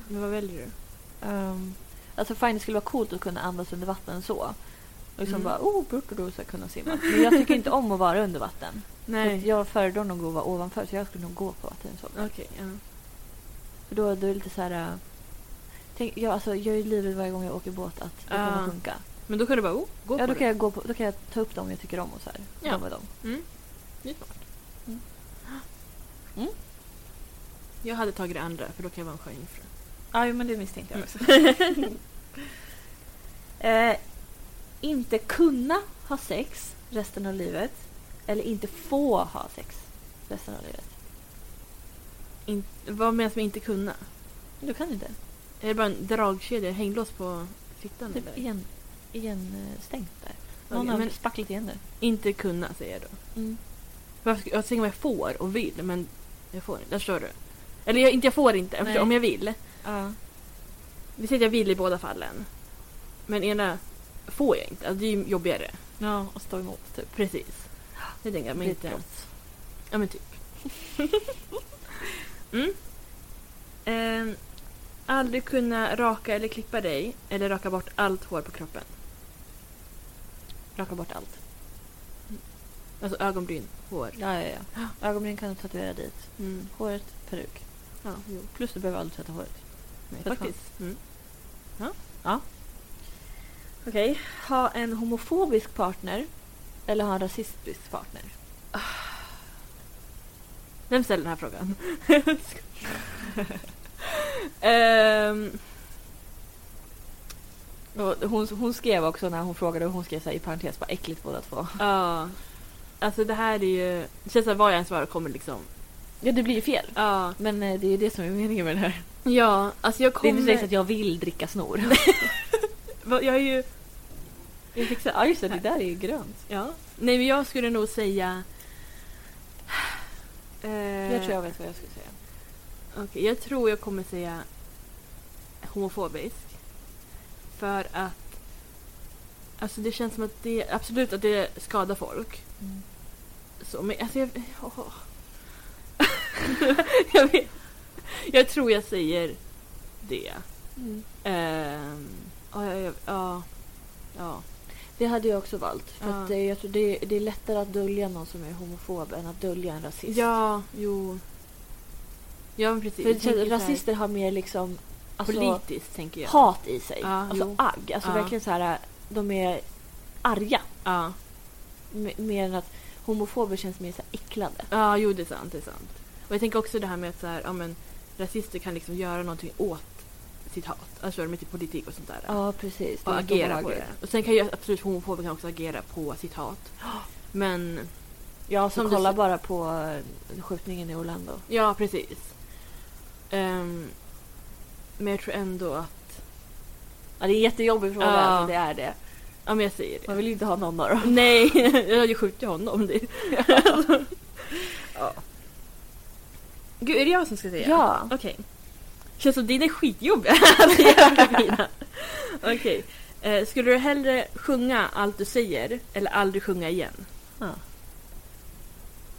A: Men vad väljer du?
B: Um, alltså fine, det skulle vara coolt att kunna andas under vatten så. Och liksom
A: Mm.
B: bara oh, brukar du så här kunna simma. Men jag tycker inte om att vara under vatten. Så att
A: Nej.
B: jag föredrar nog att vara ovanför så jag skulle nog gå på vatten så.
A: Okej, ja.
B: För då är det lite så här... äh, Tänk, jag, alltså, jag är livrädd varje gång jag åker båt att det
A: Ah.
B: kommer sjunka.
A: Men då kan du bara oh, gå på
B: Ja, då kan,
A: det.
B: jag gå på, då kan jag ta upp dem jag tycker om och så här.
A: Ja.
B: De och dem.
A: Mm. Det är smart.
B: Mm.
A: Mm.
B: Mm.
A: Jag hade tagit det andra för då kan jag vara en sjöjungfru.
B: Ja, jo, men det misstänkte
A: jag
B: också. eh, inte kunna ha sex resten av livet eller inte få ha sex resten av livet.
A: In, vad menas med inte kunna?
B: Du kan inte.
A: Är det bara en dragkedja, hänglås på fittan?
B: Typ
A: eller?
B: igen, igen eh, stängt där. Någon
A: Okej,
B: har
A: men
B: spacklat igen det.
A: inte kunna säger jag då.
B: Mm.
A: Varför, ska- jag tänker om jag får och vill men jag får inte. Där står du. Eller jag, inte jag får inte, jag
B: Nej.
A: förstår, om jag vill.
B: Ja.
A: Vi säger att jag vill i båda fallen. Men ena får jag inte, alltså, det är ju jobbigare.
B: ja, och stå emot typ.
A: Precis. Det tänker jag men
B: Blir
A: inte.
B: trött.
A: Ja men typ. mm. Ehm, aldrig kunna raka eller klippa dig eller raka bort allt hår på kroppen.
B: Raka bort allt.
A: Alltså ögonbryn, hår.
B: Ja, ja, ja. Ögonbryn kan du tatuera dit.
A: Mm.
B: Håret, peruk.
A: Ja, jo.
B: Plus du behöver aldrig tvätta håret.
A: Nej,
B: För
A: faktiskt. Mm.
B: Okej. Ha en homofobisk partner eller ha en rasistisk partner.
A: Vem ställer den här frågan? Ehm,
B: Och hon, hon skrev också när hon frågade, hon skrev så här, i parentes bara äckligt båda två.
A: Ja. alltså det här är ju... Det känns som att vad jag än svarar kommer liksom...
B: Ja, det blir ju fel.
A: Ja.
B: Men eh, det är ju det som är meningen med det här.
A: Ja, alltså jag
B: Det är inte
A: kommer...
B: säkert att jag vill dricka snor.
A: Va, jag är ju...
B: Jag fick så här, ja just det, det där är ju grönt.
A: Ja. Nej men jag skulle nog säga... Eh,
B: Jag tror jag vet vad jag skulle säga.
A: okej, jag tror jag kommer säga homofobisk. För att... Alltså det känns som att det... Absolut att det skadar folk. Så, men alltså jag... åh. jag, vet, jag tror jag säger det.
B: Mm.
A: Ehm, ja, ja, ja, ja, ja.
B: Det hade jag också valt. För
A: Ja.
B: att, eh, jag tror det, det är lättare att dölja någon som är homofob än att dölja en rasist.
A: Ja, jo. Ja, men precis.
B: För
A: Jag tänker
B: det,
A: så här,
B: rasister har mer liksom alltså,
A: politiskt tänker jag.
B: hat i sig.
A: Ja,
B: alltså
A: jo.
B: agg. Alltså
A: Ja.
B: verkligen så här, de är arga.
A: Ja.
B: M- Mer än att homofober känns mer så här äcklade.
A: ja, jo det är sant. Det är sant. Och jag tänker också det här med att så här, ja, men, rasister kan liksom göra någonting åt sitt hat. Alltså med typ politik och sånt där.
B: Ja, precis.
A: och
B: De- de
A: agera på
B: agerar.
A: det. Och sen kan ju absolut homofober kan också agera på sitt hat. Men
B: Ja, så
A: Som du
B: kolla
A: sa-
B: bara på eh, skjutningen i Orlando.
A: Ja, precis. Ehm, men jag tror ändå att...
B: Ja, det är en jättejobbig fråga,
A: Ja.
B: alltså, det är det.
A: Ja, men jag säger det.
B: Man vill ju inte ha någon av dem.
A: Nej, jag hade ju skjutit honom. Det. ja. Gud, är det jag som ska säga?
B: Ja.
A: Okej. Känns som dina är skitjobbiga. Alltså, jävla mina. Okej. Eh, skulle du hellre sjunga allt du säger eller aldrig sjunga igen?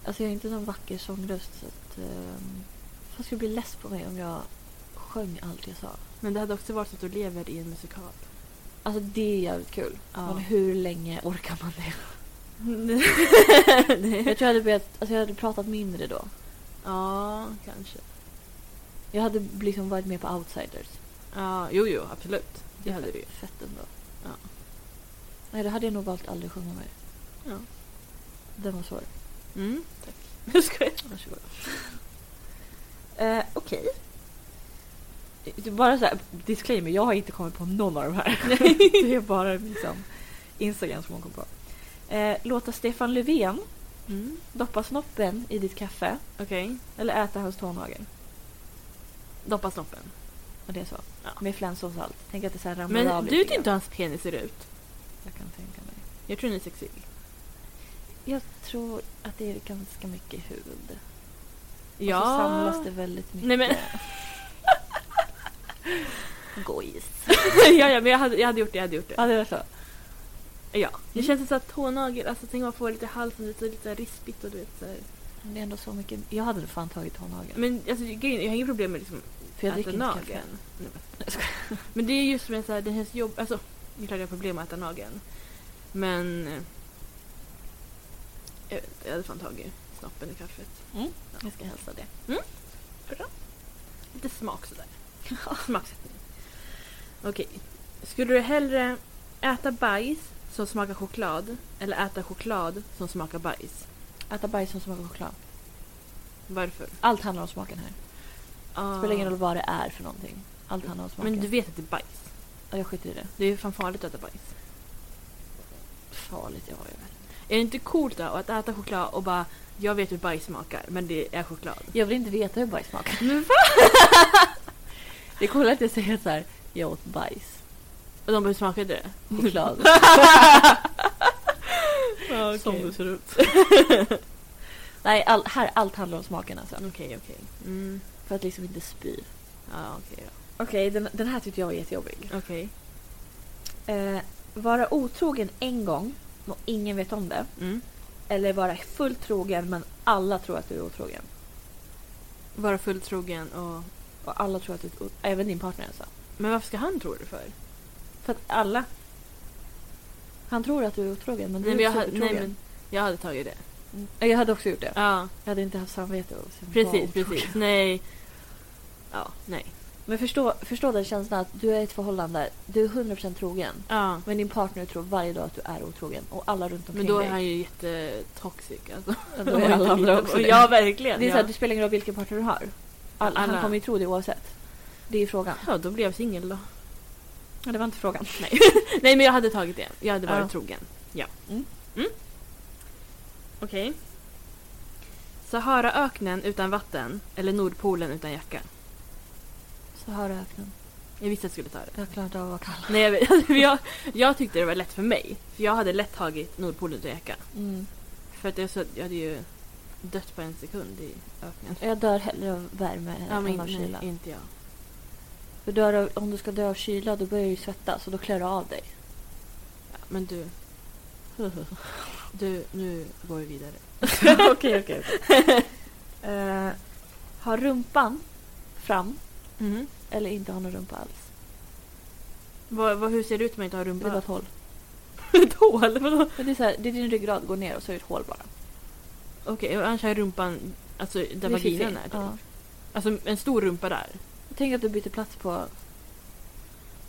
B: Alltså jag har inte någon vacker sångröst så att... Um, Folk skulle bli less på mig om jag sjöng allt jag sa.
A: Men det hade också varit så att du lever i en musikal.
B: Alltså det är jävligt kul. Men hur länge orkar man det? Jag tror jag hade, börjat, alltså jag hade pratat mindre då.
A: ja, kanske.
B: Jag hade liksom varit med på outsiders.
A: Ja, jo, jo, absolut. Det hade
B: fett,
A: du ju.
B: Fett ändå.
A: Ja.
B: Nej, då hade jag nog valt aldrig sjunga mer.
A: Ja.
B: Den var svår.
A: Mm, tack. Nu ska jag.
B: Varsågod. eh, Okej. Det är Bara så här, disclaimer, jag har inte kommit på någon av de här. det är bara liksom Instagram som hon kom på. Eh, låta Stefan Löfven
A: Mm,
B: doppa snoppen i ditt kaffe
A: Okej.
B: eller äta hans tånagel.
A: Doppa snoppen.
B: Och det är så.
A: Ja.
B: Med flänsås och salt. Tänk att det så här ramlar
A: Men
B: av
A: du
B: lite
A: vet
B: grann.
A: inte hur hans penis ser ut.
B: Jag kan tänka mig.
A: Jag tror den är sexig.
B: Jag tror att det är ganska mycket hud.
A: Ja.
B: Och så samlas det väldigt mycket.
A: Nej, men-
B: Gojs.
A: ja, ja, men jag hade, jag hade gjort det. Jag hade gjort det.
B: Ja, det var så.
A: Ja. Det känns som att tånagel, alltså tänk om man får lite i halsen, lite, lite rispigt och du vet så här.
B: Men det är ändå så mycket. Jag hade fan tagit tånagel.
A: Men alltså, grejen, jag har inga problem med liksom
B: För jag
A: äta
B: dricker inte kaffe.
A: nageln. Nej, men- Men det är just med så här, det känns jobb... Alltså, det är klart jag har problem med att äta nageln. Men... eh, Jag, vet, inte, jag hade fan tagit snoppen i kaffet.
B: Jag ska hälsa det.
A: Lite smak sådär. Smaksättning. Okej. Skulle du hellre äta bajs som smakar choklad eller äta choklad som smakar bajs?
B: Äta bajs som smakar choklad.
A: Varför?
B: Allt handlar om smaken här.
A: Ah.
B: Spelar ingen roll vad det är för någonting. Allt handlar om smaken.
A: Men du vet att det är bajs.
B: Ja, jag skiter i det.
A: Det är ju fan farligt att äta bajs.
B: Farligt, ja, jag vet.
A: Är det inte coolt då att äta choklad och bara jag vet hur bajs smakar men det är choklad?
B: Jag vill inte veta hur bajs smakar.
A: Men
B: Det är coolare att jag säger så här. Jag åt bajs.
A: Och de bara hur smakade det?
B: Choklad.
A: Som
B: okej.
A: det ser ut.
B: Nej, all, här, allt handlar om smaken alltså.
A: Okej okej. Mm.
B: För att liksom inte spy.
A: Ja okej då.
B: Okej, den, den här tyckte jag var jättejobbig.
A: Okej.
B: Eh, vara otrogen en gång och ingen vet om det.
A: Mm.
B: Eller vara fullt trogen men alla tror att du är otrogen.
A: Vara fulltrogen och...
B: Och alla tror att du är otrogen. Även din partner alltså.
A: Men varför ska han tro det för?
B: För att alla... Han tror att du är otrogen men du
A: Nej, men
B: är
A: jag,
B: inte
A: hade,
B: otrogen.
A: nej men jag hade tagit det.
B: Mm. Jag hade också gjort det.
A: Ja,
B: Jag hade inte haft samvete. Och sen var
A: precis,
B: otrogen.
A: precis. Nej. Ja, nej.
B: Men förstå, förstå den känslan att du är i ett förhållande. Du är 100% trogen.
A: Ja.
B: Men din partner tror varje dag att du är otrogen. Och alla runt omkring
A: Men då är
B: dig.
A: han ju jättetoxic alltså.
B: Ja, Då är alla andra också det.
A: Ja, verkligen.
B: Det är så här,
A: ja.
B: det spelar ingen roll vilken partner du har. All,
A: Alla.
B: Han kommer ju tro det oavsett. Det är frågan.
A: ja, då blev jag singel då.
B: Ja, det var inte frågan.
A: Nej. nej, men jag hade tagit det. Jag hade varit
B: Ja.
A: trogen. Ja.
B: Mm.
A: Mm. Okej. Saharaöknen utan vatten eller Nordpolen utan jacka?
B: Saharaöknen.
A: Jag visste att jag skulle ta det.
B: Jag klarar inte av att vara kall.
A: Nej, jag, vet- jag, jag tyckte det var lätt för mig. För jag hade lätt tagit Nordpolen utan jacka.
B: Mm.
A: För att jag, så, jag hade ju dött på en sekund i öknen.
B: Jag dör hellre av värme
A: Ja, men
B: än av kyla.
A: nej, inte jag.
B: För dör av, om du ska dö av kyla då börjar du ju svettas och då klär du av dig.
A: Ja, men du, du, nu går vi vidare.
B: okej, okej. Eh, ha rumpan fram
A: Mm.
B: eller inte ha någon rumpa alls.
A: Vad, vad, hur ser det ut om jag inte har
B: Det är bara
A: rumpa?
B: ett hål.
A: Ett hål? Vadå?
B: Men det, är så här, det är din ryggrad går ner och så är det ett hål bara.
A: Okej, och annars har jag rumpan alltså, där
B: Vid
A: vaginan
B: fiffin.
A: är. typ.
B: Ja.
A: Alltså en stor rumpa där.
B: Tänk att du byter plats på...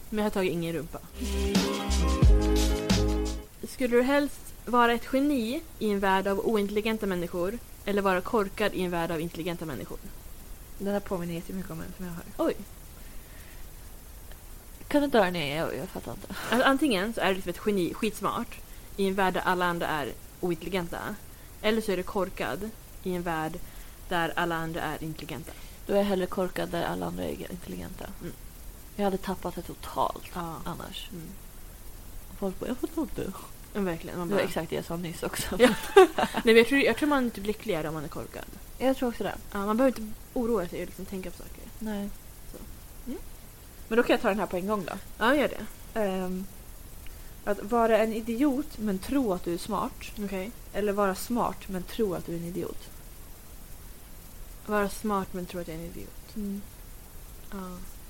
A: Men jag har tagit ingen rumpa. Skulle du helst vara ett geni i en värld av ointelligenta människor eller vara korkad i en värld av intelligenta människor?
B: Den här påminner jättemycket om en som jag har.
A: Oj.
B: Kan du dra den ner? Jag, jag fattar inte.
A: Alltså, antingen så är du liksom ett geni, skitsmart, i en värld där alla andra är ointelligenta. Eller så är du korkad i en värld där alla andra är intelligenta.
B: Då är jag hellre korkad där alla andra är intelligenta.
A: Mm.
B: Jag hade tappat det totalt
A: Ja.
B: annars.
A: Mm.
B: Och Folk bara, jag fattar inte.
A: Ja, Verkligen. Man
B: Det
A: bara...
B: var exakt det jag sa nyss också.
A: Ja. Nej, men jag, tror, jag tror man är typ lyckligare om man är korkad.
B: Jag tror också det.
A: Ja, man behöver inte oroa sig och liksom tänka på saker.
B: Nej.
A: Så.
B: Mm. Men då kan jag ta den här på en gång då.
A: Ja, gör det.
B: Ehm, att vara en idiot men tro att du är smart.
A: Okej.
B: Eller vara smart men tro att du är en idiot.
A: Vara smart men tro att jag är en idiot.
B: Mm.
A: Ja.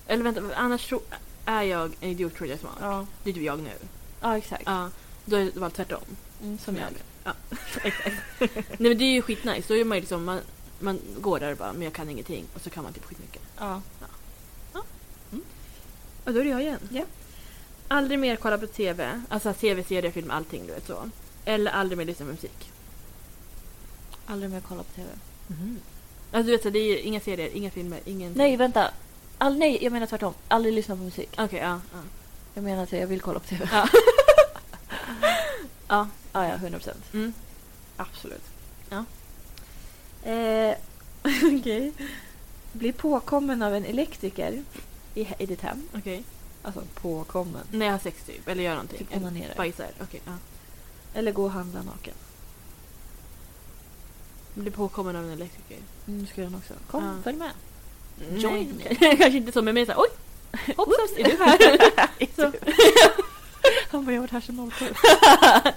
A: Eller vänta, annars tro, är jag en idiot tror jag är smart.
B: Ja.
A: Det är typ jag nu.
B: ja, exakt.
A: Ja. Då är det bara tvärtom.
B: Mm, som jag.
A: Ja, exakt. Nej men det är ju skitnice. Då är man ju liksom, man, man går där och bara, men jag kan ingenting. Och så kan man typ skitmycket.
B: Ja.
A: Och då är det jag igen.
B: Ja.
A: Aldrig mer kolla på TV. Alltså TV-serier, film, allting du vet så. Eller aldrig mer lyssna på musik.
B: Aldrig mer kolla på TV.
A: Alltså du vet så, det är ju inga serier, inga filmer, ingen...
B: Nej, vänta. All, nej, jag menar tvärtom. Aldrig lyssna på musik.
A: Okej, ja. ja.
B: Jag menar att jag vill kolla på TV.
A: Ja. Ja.
B: ja, ja, 100 procent.
A: Mm.
B: Absolut.
A: Ja.
B: Eh, Okej. Bli påkommen av en elektriker i, i ditt hem.
A: Okej.
B: Alltså påkommen.
A: När jag har sex typ, eller gör någonting.
B: Typ
A: Eller
B: onanerar.
A: Bajsar, okej. ja.
B: Eller gå och handla naken.
A: Blir påkommen av en elektriker.
B: Mm, ska jag också. Kom,
A: Ja.
B: följ med.
A: Mm, Nej.
B: Join me.
A: Kanske inte så, men mer såhär oj! Hoppsan, är du här? så.
B: typ. Han bara, jag har varit här sedan 07.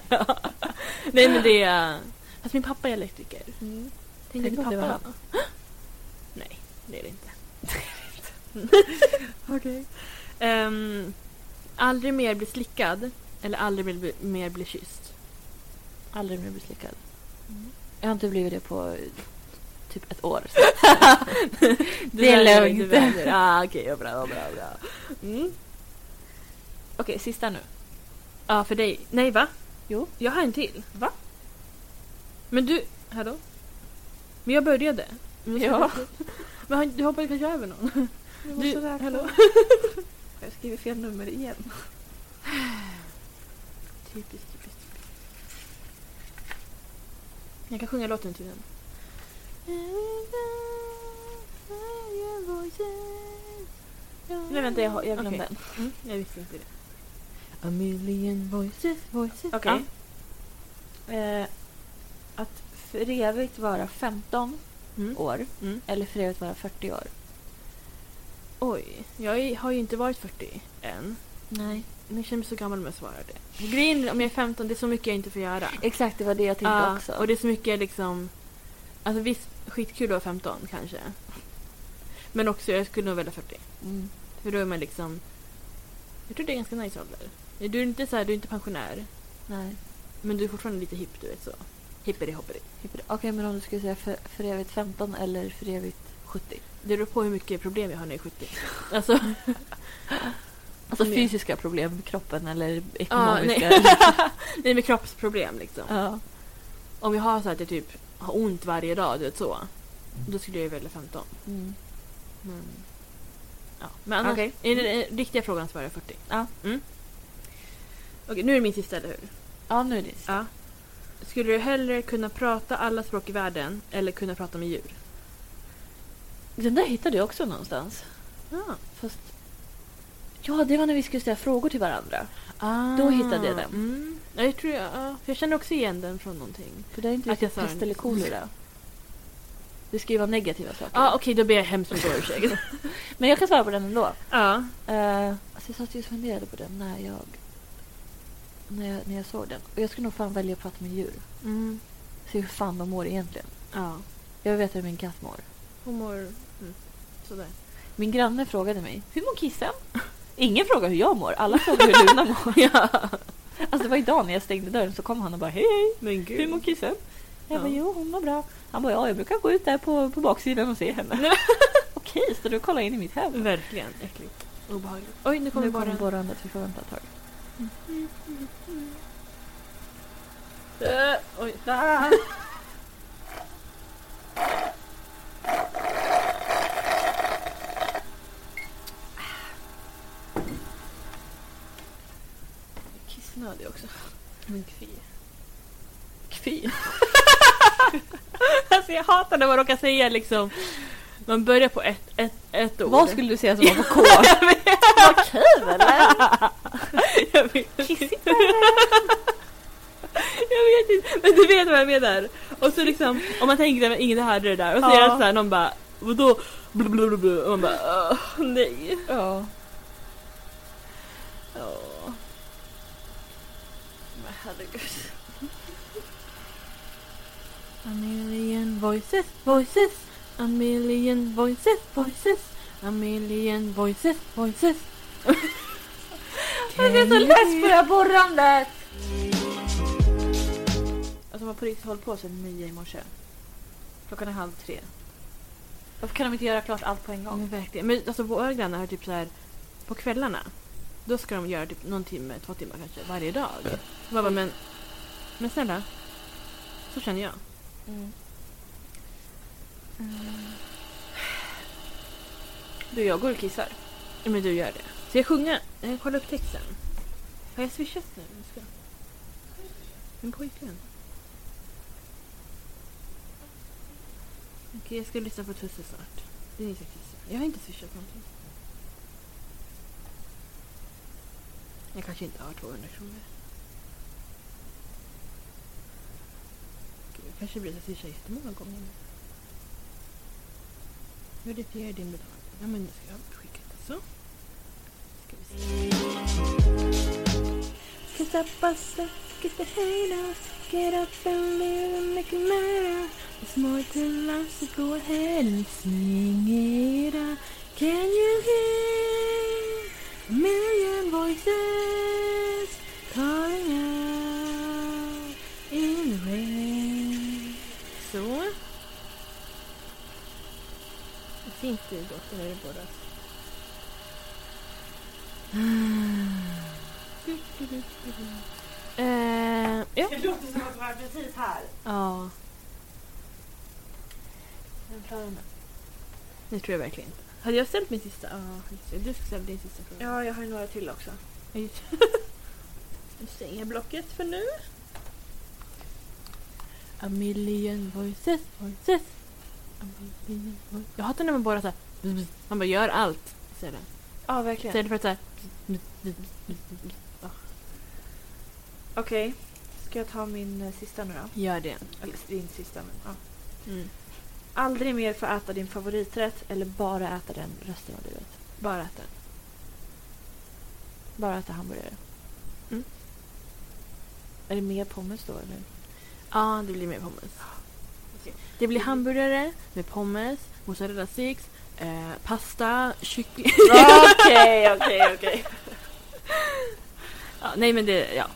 A: ja. Nej men det är... Fast min pappa är elektriker.
B: Mm.
A: Tänk
B: Tänk
A: dig
B: om det
A: pappa.
B: var
A: Nej, det är det inte.
B: Okej.
A: Ehm, aldrig mer bli slickad eller aldrig mer bli, mer bli kysst.
B: Aldrig mer bli slickad.
A: Mm.
B: Jag har inte blivit det på eh, typ ett år.
A: Du
B: Det är
A: väljer,
B: lugnt.
A: du väljer. Ah, Okej, ja, bra, bra, bra. Mm.
B: Okej, sista nu.
A: Ja, för dig. Nej, va?
B: Jo.
A: Jag har en till. Va? Men du... Hallå? Men jag började. Men jag
B: Ja.
A: ska- Men har- du hoppade kanske över någon? måste räkna.
B: Jag skriver fel nummer igen.
A: Typiskt, typiskt. Jag kan sjunga låten till den.
B: Nej, vänta, jag, har- jag glömde
A: Okej.
B: den.
A: Mm, jag visste inte det.
B: A million voices, voices. Okej.
A: Okej.
B: Eh, att för evigt vara 15
A: Mm.
B: år
A: Mm.
B: eller för evigt vara 40 år.
A: Oj, jag är- har ju inte varit 40 än.
B: Nej.
A: Men jag känner mig så gammal med att svara det. Grejen är, om jag är 15, det är så mycket jag inte får göra.
B: Exakt, det var Ah, det jag tänkte
A: Ja,
B: också.
A: Och det är så mycket liksom... Alltså visst, skitkul att vara 15 kanske. Men också, jag skulle nog välja 40.
B: Mm.
A: För då är man liksom... Jag tror det är ganska nice ålder. Du är inte så här, du är inte pensionär.
B: Nej.
A: Men du är fortfarande lite hipp, du vet så. Hipperi hopperi.
B: Typ, Okej, men om du skulle säga för, för evigt 15 eller för evigt 70?
A: Det beror på hur mycket problem jag har när jag är 70. Alltså,
B: Alltså
A: Mer.
B: fysiska problem med kroppen eller
A: ja,
B: ekonomiska?
A: nej. nej med kroppsproblem liksom.
B: ja.
A: Om jag har så att jag typ har ont varje dag, du vet så. Då skulle jag ju välja 15.
B: Mm.
A: Men, ja. Men annars,
B: Okej.
A: är det den riktiga frågan svarar jag 40.
B: Ja.
A: Mm. Okej, nu är det min sista, eller hur?
B: ja, nu är det
A: Ja. Skulle du hellre kunna prata alla språk i världen eller kunna prata med djur?
B: Den där hittade jag också någonstans.
A: Ja.
B: Fast... Ja, det var när vi skulle ställa frågor till varandra.
A: Ah.
B: Då hittade jag den.
A: Mm. Ja, jag tror jag, ja. För jag känner också igen den från någonting.
B: För det är inte
A: Att jag
B: riktigt
A: sa den.
B: pest eller kolera. Det ska ju vara negativa saker.
A: Ja, ah, okej, då ber jag hemskt mycket om ursäkt.
B: Men jag kan svara på den ändå.
A: Ja.
B: Uh, alltså jag satt just och funderade på den när jag, när jag, när jag såg den. Och jag skulle nog fan välja att prata med djur.
A: Mm.
B: Se hur fan de mår egentligen.
A: Ja.
B: Jag vill veta hur min katt mår.
A: Hon mår mm. sådär.
B: Min granne frågade mig, hur mår kissen? Ingen frågar hur jag mår, alla frågar hur Luna mår. ja. Alltså det var idag när jag stängde dörren så kom han och bara, hej hej,
A: Men
B: hur mår kissen? Jag
A: Ja.
B: bara, jo hon mår bra. Han bara, ja jag brukar gå ut där på, på baksidan och se henne. Okej, så du kollar in i mitt hem?
A: Verkligen äckligt. Obehagligt. Oj, nu kommer
B: Nu kommer
A: borren.
B: borrandet, vi får vänta ett tag.
A: Äh, oj.
B: Kissnödig också.
A: Men fy.
B: Kvi.
A: Alltså jag hatar när man råkar säga liksom... Man börjar på ett, ett, ett ord.
B: Vad skulle du säga som var på K? Vad kul eller?
A: jag vet inte. Jag vet inte. Men du vet vad jag menar. Och så liksom, om man tänker att ingen hade det där. Och så
B: Ja.
A: är det såhär, någon bara... Vadå? Blablabla. Och man bara... "Åh, nej.
B: Ja.
A: Ja. Men herregud.
B: A million voices, voices.
A: A million voices, voices. A million voices, voices.
B: Jag är så less på det här borrandet! Alltså de har på riktigt hållit på sedan nio i morse. Klockan är halv tre. Varför kan de inte göra klart allt på en gång?
A: Men verkligen. Men alltså våra grannar har typ så här på kvällarna. Då ska de göra typ någon timme, två timmar kanske varje dag. Så man bara, men, men snälla. Så känner jag. Mm.
B: Mm. Du, jag går och kissar.
A: Ja, Men du gör det. Ska jag sjunga? Jag kan kolla upp texten. Har jag swishat nu? Jag ska... Min pojkvän. Okej, jag ska lyssna på Tusse snart. Det är inte kissa. Jag har inte swishat någonting. Jag kanske inte har 200 kronor. Gud, jag kanske blir så swisha jättemånga gånger nu. Hur definierar din betalning? Ja, men nu ska jag skicka det så. Ska vi se. Cause I bust up, get the haters, get up and live and make it matter. There's more to life, so go ahead and sing it out. Can you hear a million voices calling out in the rain? Så. Det er finns ju dotter när det borras. Eh, ja.
C: Det låter som att du var precis här.
A: Ja. Den klarar mig. Det tror jag verkligen inte. Hade jag ställt min sista? Ja, just det. du ska ställa din sista fråga.
B: Ja, jag har ju några till också.
A: Ja, just det. Nu stänger jag blocket för nu. A million voices, voices. A million voices. Jag hatar när man bara så här, man bara gör allt istället.
B: Ja, verkligen.
A: Istället för att så här,
B: Okej, ska jag ta min eh, sista nu då?
A: gör det.
B: Eller din sista, men ja.
A: Mm.
B: Aldrig mer få äta din favoriträtt eller bara äta den resten av livet.
A: Bara äta.
B: Bara äta hamburgare.
A: Mm.
B: Är det mer pommes då eller?
A: Ja, det blir mer pommes. Det blir hamburgare med pommes, mozzarella sticks, eh, pasta, kyckling.
B: Okej, okej, okej.
A: Ja, nej men det, ja.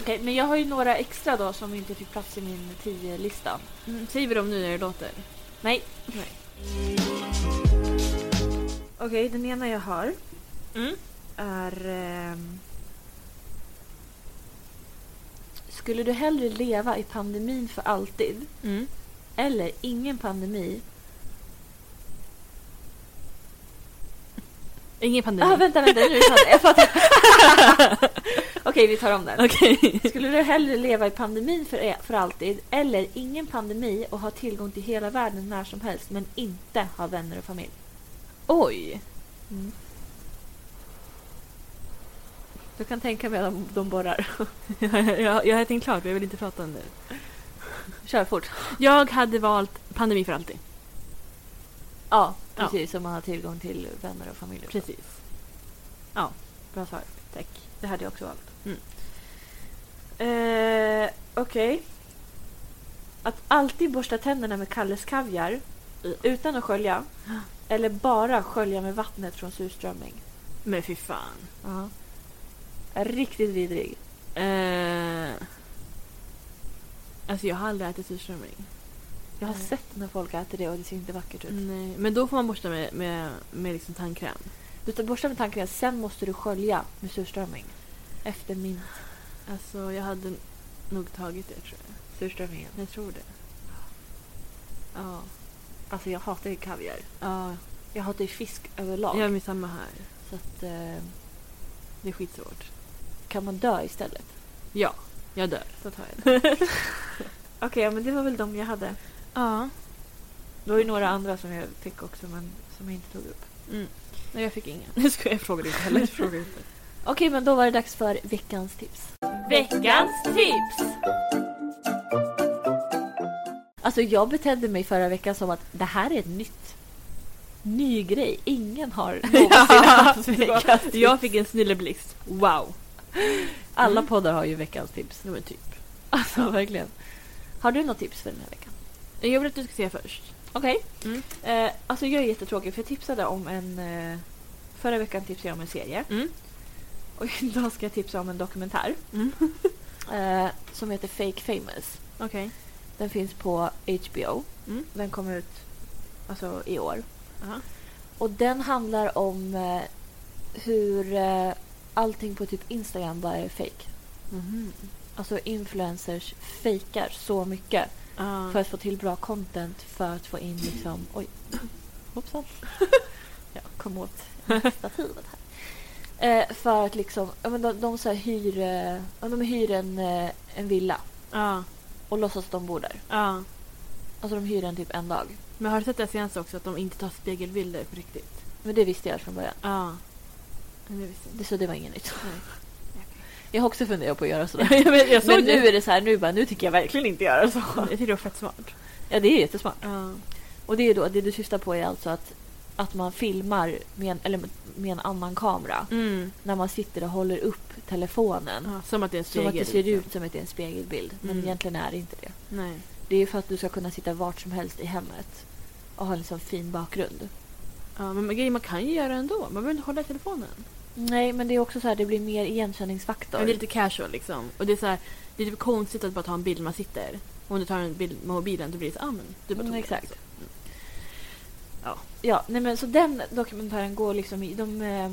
B: Okej, men jag har ju några extra då som inte fick plats i min 10-lista.
A: Mm, Säger vi dem nu när det låter?
B: Nej. Okej, den ena jag har
A: Mm.
B: är... ehm, Skulle du hellre leva i pandemin för alltid
A: Mm.
B: eller ingen pandemi?
A: Ingen pandemi.
B: Ah, vänta, vänta, nu fattar jag. Fattar. Okej, vi tar om den.
A: Okej.
B: Skulle du hellre leva i pandemin för, eh, för alltid eller ingen pandemi och ha tillgång till hela världen när som helst men inte ha vänner och familj?
A: Oj.
B: Du kan tänka mig att de, de borrar.
A: jag, jag, jag har tänkt klart, men jag vill inte prata om det.
B: Kör fort.
A: Jag hade valt pandemi för alltid.
B: Ja,
A: Ja.
B: precis. Som man har tillgång till vänner och familj.
A: Precis.
B: Bra svar. Tack. Det hade jag också valt.
A: Mm.
B: Eh, Okej. Att alltid borsta tänderna med Kalles kaviar utan att skölja eller bara skölja med vattnet från surströmming.
A: Men fy fan.
B: Ja. Riktigt vidrig.
A: Eh, alltså jag har aldrig ätit surströmming.
B: Jag har
A: Nej.
B: sett när folk äter det och det ser inte vackert ut.
A: Nej, men då får man borsta med, med, med liksom tandkräm.
B: Du tar borsta med tandkräm, sen måste du skölja med surströmming. Efter min
A: Alltså jag hade nog tagit det tror jag.
B: surströmmingen.
A: Jag tror det. Ja.
B: Alltså jag hatar ju kaviar.
A: Ja,
B: Jag hatar ju fisk överlag.
A: jag är med samma här.
B: Så att, eh,
A: Det är skitsvårt.
B: kan man dö istället?
A: Ja, jag dör.
B: Så tar jag det. Okej, ja, men det var väl de jag hade.
A: Ja.
B: Det var ju några andra som jag fick också men som jag inte tog upp.
A: Mm. Nej, jag fick ingen. Nu ska jag fråga inte heller. Fråga inte.
B: Okej, men då var det dags för veckans tips.
A: Veckans tips!
B: Alltså jag betedde mig förra veckan som att det här är ett nytt. Ny grej. Ingen har någonsin haft veckans tips.
A: jag fick en snilleblixt. Wow!
B: Alla
A: Mm.
B: poddar har ju veckans tips.
A: Ja, men typ.
B: Alltså verkligen. Har du något tips för den här veckan?
A: Jag vill att du ska säga först.
B: Okej.
A: Mm.
B: Eh, alltså jag är jättetråkig för jag tipsade om en... Eh, förra veckan tipsade jag om en serie.
A: Mm.
B: Och idag ska jag tipsa om en dokumentär.
A: Mm.
B: Eh, som heter Fake Famous.
A: Okej.
B: Den finns på HBO.
A: Mm.
B: Den kom ut alltså, i år.
A: Aha.
B: Och den handlar om eh, hur eh, allting på typ Instagram bara är fake.
A: Mhm.
B: Alltså influencers fejkar så mycket
A: Ah.
B: för att få till bra content för att få in liksom... Oj, hoppsan. Jag kom åt stativet här. Eh, för att liksom... ja, Men de, de, så här hyr, eh, ja, de hyr en, eh, en villa
A: Ja,
B: och låtsas att de bor där.
A: ja.
B: Alltså de hyr den typ en dag.
A: Men har du sett det senaste också att de inte tar spegelbilder på riktigt?
B: Men det visste jag från början.
A: Ja. Men det visste jag
B: Det,
A: inte.
B: så det var inget nytt.
A: Nej.
B: Jag har också funderat på att göra sådär.
A: Jag vet, jag såg
B: Men
A: det.
B: nu är det så här, nu bara, nu tycker jag verkligen inte göra så.
A: Jag tycker det var fett smart.
B: Ja, det är jättesmart.
A: Ja.
B: Och det är då, det du syftar på är alltså att, att man filmar med en, eller med- med en annan kamera.
A: Mm.
B: När man sitter och håller upp telefonen.
A: Ja, som att det är en
B: Som
A: spegel.
B: att det ser
A: liksom.
B: ut som att det är en spegelbild. Men
A: Mm.
B: egentligen är det inte det.
A: Nej.
B: Det är för att du ska kunna sitta vart som helst i hemmet. Och ha en sån fin bakgrund.
A: Ja, men grejen, man kan ju göra det ändå. Man behöver inte hålla i telefonen.
B: Nej, men det är också så här, det blir mer igenkänningsfaktor.
A: Men det är lite casual liksom. Och det är så här, det är typ konstigt att bara ta en bild när man sitter. Och om du tar en bild med mobilen då blir det så, ah, men du bara
B: Mm,
A: tog
B: exakt.
A: den. så.
B: Ja, nej men så den dokumentären går liksom i... De, eh,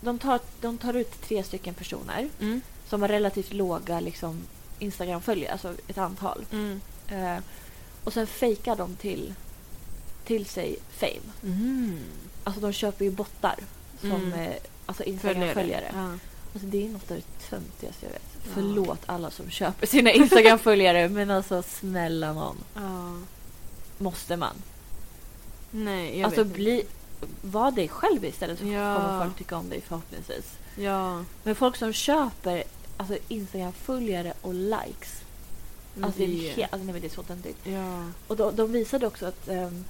B: de, tar, de tar ut tre stycken personer
A: Mm.
B: som har relativt låga liksom, Instagram-följare, alltså ett antal.
A: Mm.
B: Eh, och sen fejkar de till, till sig fame.
A: Mm.
B: Alltså de köper ju bottar som
A: Mm.
B: eh, alltså Instagram-följare.
A: Ja.
B: Alltså, det är något av det töntigaste jag vet.
A: Ja.
B: Förlåt alla som köper sina Instagram-följare men alltså snälla någon.
A: ja.
B: Måste man?
A: Nej, jag
B: alltså
A: vet
B: bli... Var dig själv istället så
A: Ja.
B: kommer folk tycka om dig förhoppningsvis.
A: inte. Ja.
B: Men folk som köper alltså Instagram-följare och likes.
A: men
B: Alltså, det... är helt, alltså, nej, men det är så töntigt.
A: Ja.
B: Och då, de visade också att ehm,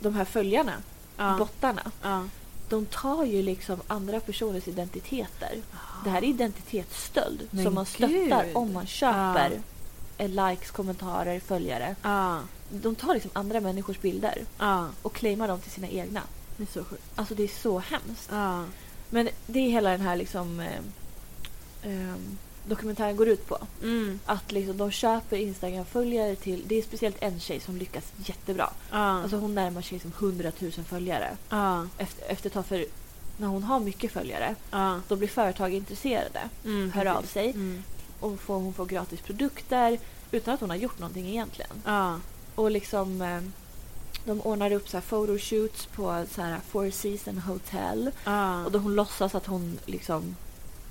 B: de här följarna,
A: Ja.
B: bottarna,
A: ja.
B: de tar ju liksom andra personers identiteter. Det här är identitetsstöld
A: Men
B: som man
A: gud.
B: stöttar om man köper eh, likes, kommentarer, följare.
A: Ja.
B: De tar liksom andra människors bilder
A: Ja.
B: och claimar dem till sina egna.
A: Det är så sjukt.
B: Alltså det är så hemskt.
A: Ja.
B: Men det är hela den här liksom eh, ehm, dokumentären går ut på.
A: Mm.
B: att liksom de köper Instagram-följare till... Det är speciellt en tjej som lyckas jättebra.
A: Ja.
B: Alltså hon närmar sig liksom 100 000 följare.
A: ja.
B: Efter, efter ett tag, för när hon har mycket följare,
A: Ja.
B: då blir företag intresserade.
A: Mm,
B: Hör
A: precis.
B: av sig
A: Mm.
B: och får, hon får gratis produkter utan att hon har gjort någonting egentligen.
A: Ja.
B: Och liksom... eh, De ordnar upp så här photoshoots på så här Four Seasons Hotel.
A: Ja.
B: Och då hon låtsas att hon liksom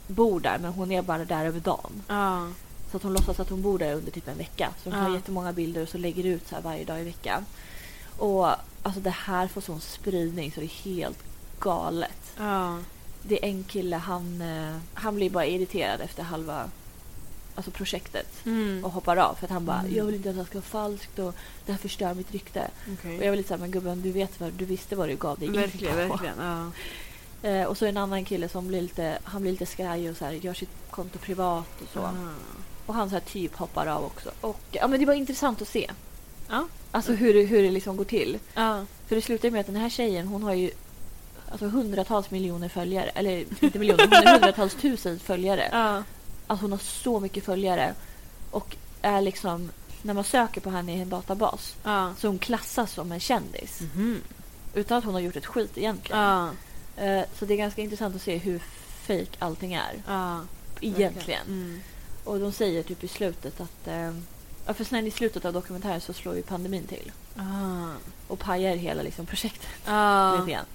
B: bor där, men hon är bara där över dagen.
A: Ja.
B: Så att hon låtsas att hon bor där under typ en vecka. Så hon tar
A: Ja.
B: jättemånga bilder och så lägger ut så här varje dag i veckan. Och alltså det här får sån spridning så det är helt galet.
A: Ja.
B: Det är en kille, han, eh, han blir bara irriterad efter halva alltså projektet.
A: Mm.
B: Och hoppar av för att han bara
A: Mm.
B: “jag vill inte att det här ska vara falskt och det här förstör mitt rykte”.
A: Okej.
B: Och jag var lite såhär “men gubben du vet vad, du visste vad du gav dig in
A: Verkligen,
B: på."
A: verkligen. Ja.
B: Eh, och så en annan kille som blir lite, han blir lite skraj och så här, gör sitt konto privat och så.
A: Ah.
B: Och han så här typ hoppar av också. Och, ja, men det var intressant att se.
A: Ja.
B: Alltså hur, det- hur det liksom går till.
A: Ja.
B: För det slutar ju med att den här tjejen hon har ju alltså, hundratals miljoner följare. Eller inte miljoner, hon har hundratals tusen följare.
A: Ja.
B: Alltså hon har så mycket följare. Och är liksom, när man söker på henne i en databas
A: Ja.
B: så hon klassas som en kändis.
A: Mhm.
B: Utan att hon har gjort ett skit egentligen.
A: Ja.
B: Eh, Så det är ganska intressant att se hur fake allting är.
A: Ja.
B: Egentligen.
A: Mm.
B: Och de säger typ i slutet att... Eh, ja, för sen i slutet av dokumentären så slår ju pandemin till
A: Ah.
B: och pajar hela liksom, projektet. Lite
A: Ja.
B: grann.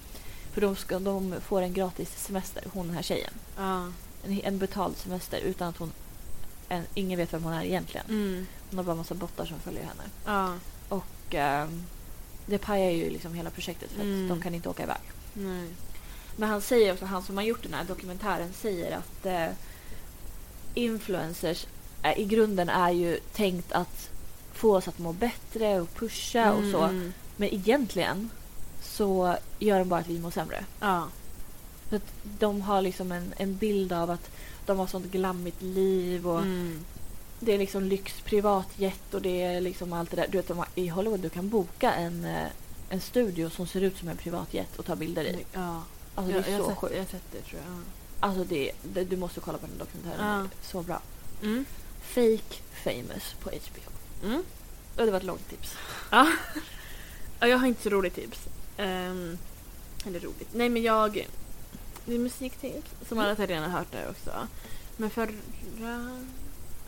B: För de, ska, de får en gratis semester, hon den här tjejen.
A: Ja.
B: En, en betald semester utan att hon... En, ingen vet vem hon är egentligen.
A: Mm.
B: Hon har bara massa bottar som följer henne.
A: Ja.
B: Och eh, det pajar ju liksom hela projektet för
A: Mm.
B: att de kan inte åka iväg.
A: Nej.
B: Men han säger också, han som har gjort den här dokumentären säger att eh, influencers eh, i grunden är ju tänkt att få oss att må bättre och pusha och så.
A: Mm.
B: Men egentligen så gör de bara att vi mår sämre.
A: Ja.
B: För att de har liksom en, en bild av att de har sånt glammigt liv och
A: Mm.
B: det är liksom lyx privatjet och det är liksom allt det där. Du vet, de har- i Hollywood du kan boka en, eh, en studio som ser ut som en privatjet och ta bilder i.
A: Ja,
B: Alltså
A: jag,
B: det är
A: jag,
B: så
A: har sett,
B: sjukt.
A: jag har sett det tror jag. ja.
B: Alltså det, det, du måste kolla på den dokumentären.
A: Ja.
B: Det är Så bra.
A: Mm.
B: Fake famous på HBO.
A: Mm.
B: Och det var ett långt tips.
A: Ja, jag har inte så roligt tips. Ehm, eller roligt. Nej men jag... Det är musiktips som alla här redan har hört där också. Men förra...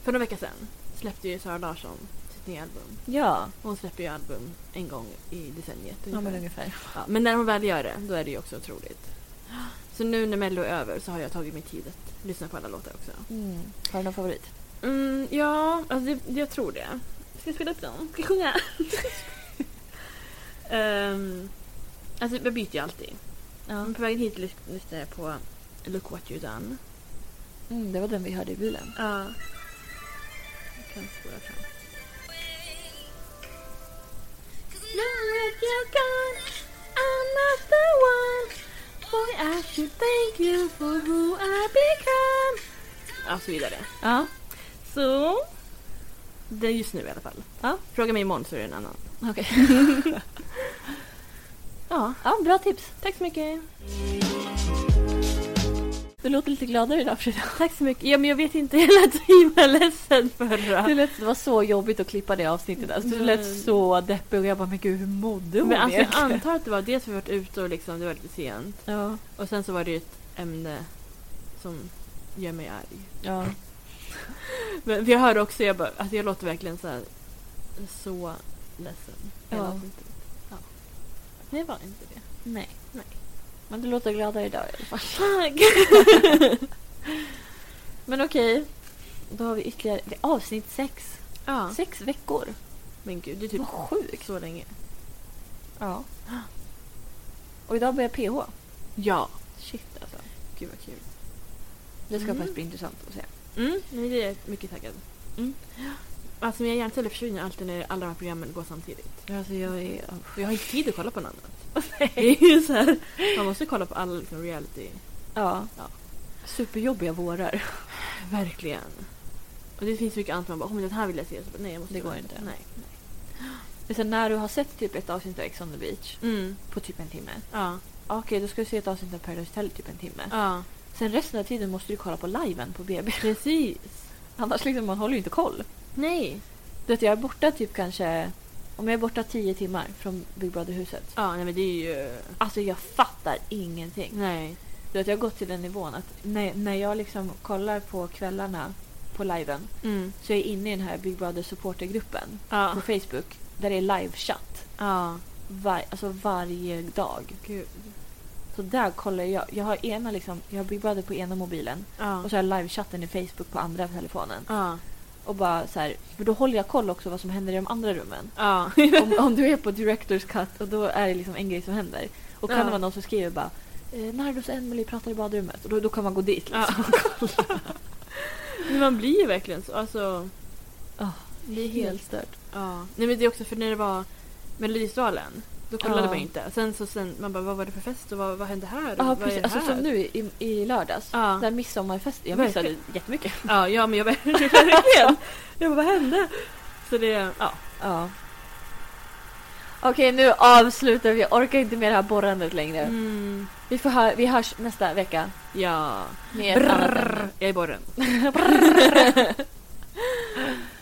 A: För några veckor sedan släppte ju Sara Larsson sitt nya album.
B: Ja,
A: Hon släpper ju album en gång i decenniet.
B: ja men
A: ungefär.
B: ungefär.
A: Ja, men när hon väl gör det, då är det ju också otroligt. Så nu när Mello är över så har jag tagit mig tid att lyssna på alla låtar också.
B: Mm. Har du någon favorit?
A: Mm, ja, alltså det, det- jag tror det. Ska jag spela upp dem? Ska jag sjunga? Ehm, alltså jag byter ju alltid. Men På vägen hit lys- lyssnade jag på Look What You Done.
B: Mm, det var den vi hörde i bilen.
A: Ja. Jag kan spåra fram. Ja, så vidare.
B: Ja.
A: Så. Det är just nu i alla fall.
B: Ja.
A: Fråga mig imorgon så är det en annan.
B: Okej.
A: Ja.
B: Ja, bra tips.
A: Tack så mycket.
B: Du låter lite gladare idag Frida.
A: Tack så mycket. Ja, men jag vet inte, jag lät så himla ledsen förra.
B: Det, lät, det var så jobbigt att klippa det avsnittet. Alltså, du
A: Nej.
B: lät så deppig och jag bara, men gud hur mådde hon
A: Mm. Men alltså, jag
B: egentligen?
A: antar att det var dels för att vi varit ute och liksom, det var lite sent.
B: Ja.
A: Och sen så var det ju ett ämne som gör mig arg.
B: ja.
A: Men jag hör också, jag, bara, alltså jag låter verkligen så här, så ledsen. Jag
B: Ja.
A: låter inte, ja. Nej, jag var inte det.
B: Nej.
A: Nej.
B: Men du låter gladare idag i alla fall.
A: Tack!
B: Men okej. Då har vi ytterligare det är avsnitt sex.
A: Ja.
B: Sex veckor.
A: Men gud, det är typ
B: Vad sjukt.
A: så länge.
B: Ja. Och idag börjar PH.
A: Ja.
B: Shit alltså.
A: Gud vad kul.
B: Det ska
A: Mm.
B: faktiskt bli intressant att se.
A: Mm, nej, det är jag mycket taggad.
B: Mm.
A: Alltså mina hjärnceller försvinner alltid när alla de här programmen går samtidigt.
B: Alltså jag är...
A: För jag har inte tid att kolla på något annat. Det är ju så här, man måste kolla på all liksom, reality.
B: Ja.
A: Ja.
B: Superjobbiga vårar.
A: Verkligen. Och det finns mycket annat man bara, oh, men det här vill jag se. Så bara, nej, jag måste
B: Det går
A: vänta.
B: inte.
A: Nej.
B: Men sen när du har sett typ ett avsnitt av Ex on the beach
A: Mm.
B: på typ en timme.
A: Ja.
B: Okej, då ska du se ett avsnitt av Paradise Hotel i typ en timme.
A: ja.
B: Sen resten av tiden måste du kolla på liven på BB.
A: Precis.
B: Annars liksom, man håller ju inte koll.
A: Nej.
B: Du vet, jag är borta typ kanske... Om jag är borta tio timmar från Big Brother-huset.
A: Ja, nej men det är ju...
B: Alltså jag fattar ingenting.
A: Nej.
B: Du vet, jag har gått till den nivån att när, när jag liksom kollar på kvällarna på liven
A: Mm.
B: så är jag inne i den här Big Brother supportergruppen
A: Ja.
B: på Facebook där det är livechatt.
A: Ja.
B: Var, alltså varje dag.
A: Gud.
B: Så där kollar jag. Jag har, ena liksom, jag har Big Brother på ena mobilen
A: Ja.
B: och så har jag livechatten i Facebook på andra telefonen.
A: Ja.
B: Och bara så här, för då håller jag koll också vad som händer i de andra rummen.
A: Ja.
B: Om, om du är på Directors Cut och då är det liksom en grej som händer. Och kan
A: Ja.
B: det vara någon som skriver bara eh, Nardos och Emelie pratar i badrummet och då, då kan man gå dit. Liksom.
A: Ja. Men man blir ju verkligen så. Alltså,
B: Ah,
A: det är
B: stört.
A: Ja. Nej men det är också för när det var Melodifestivalen. Då kollade
B: Ja.
A: man inte. Sen så sen, man bara, vad var det för fest och vad, vad hände här?
B: Ja,
A: vad är
B: precis.
A: det
B: Alltså,
A: här?
B: som nu i, i lördags.
A: Ja.
B: Där midsommarfesten. Jag
A: Verkligen.
B: missade jättemycket.
A: Ja, ja men jag verkligen. jag bara, vad hände? Så det, ja.
B: Ja. Okej, nu avslutar vi. Jag orkar inte med det här borrandet längre.
A: Mm.
B: Vi, får hö- vi hörs nästa vecka.
A: Ja.
B: Med ett annat ämne.
A: Brrr. Jag är i borren.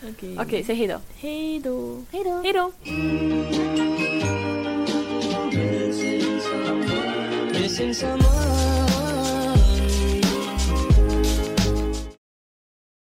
A: Okej.
B: Okej, säg hej då.
A: Hej då.
B: Hej då.
A: Hej då.
D: Missing someone.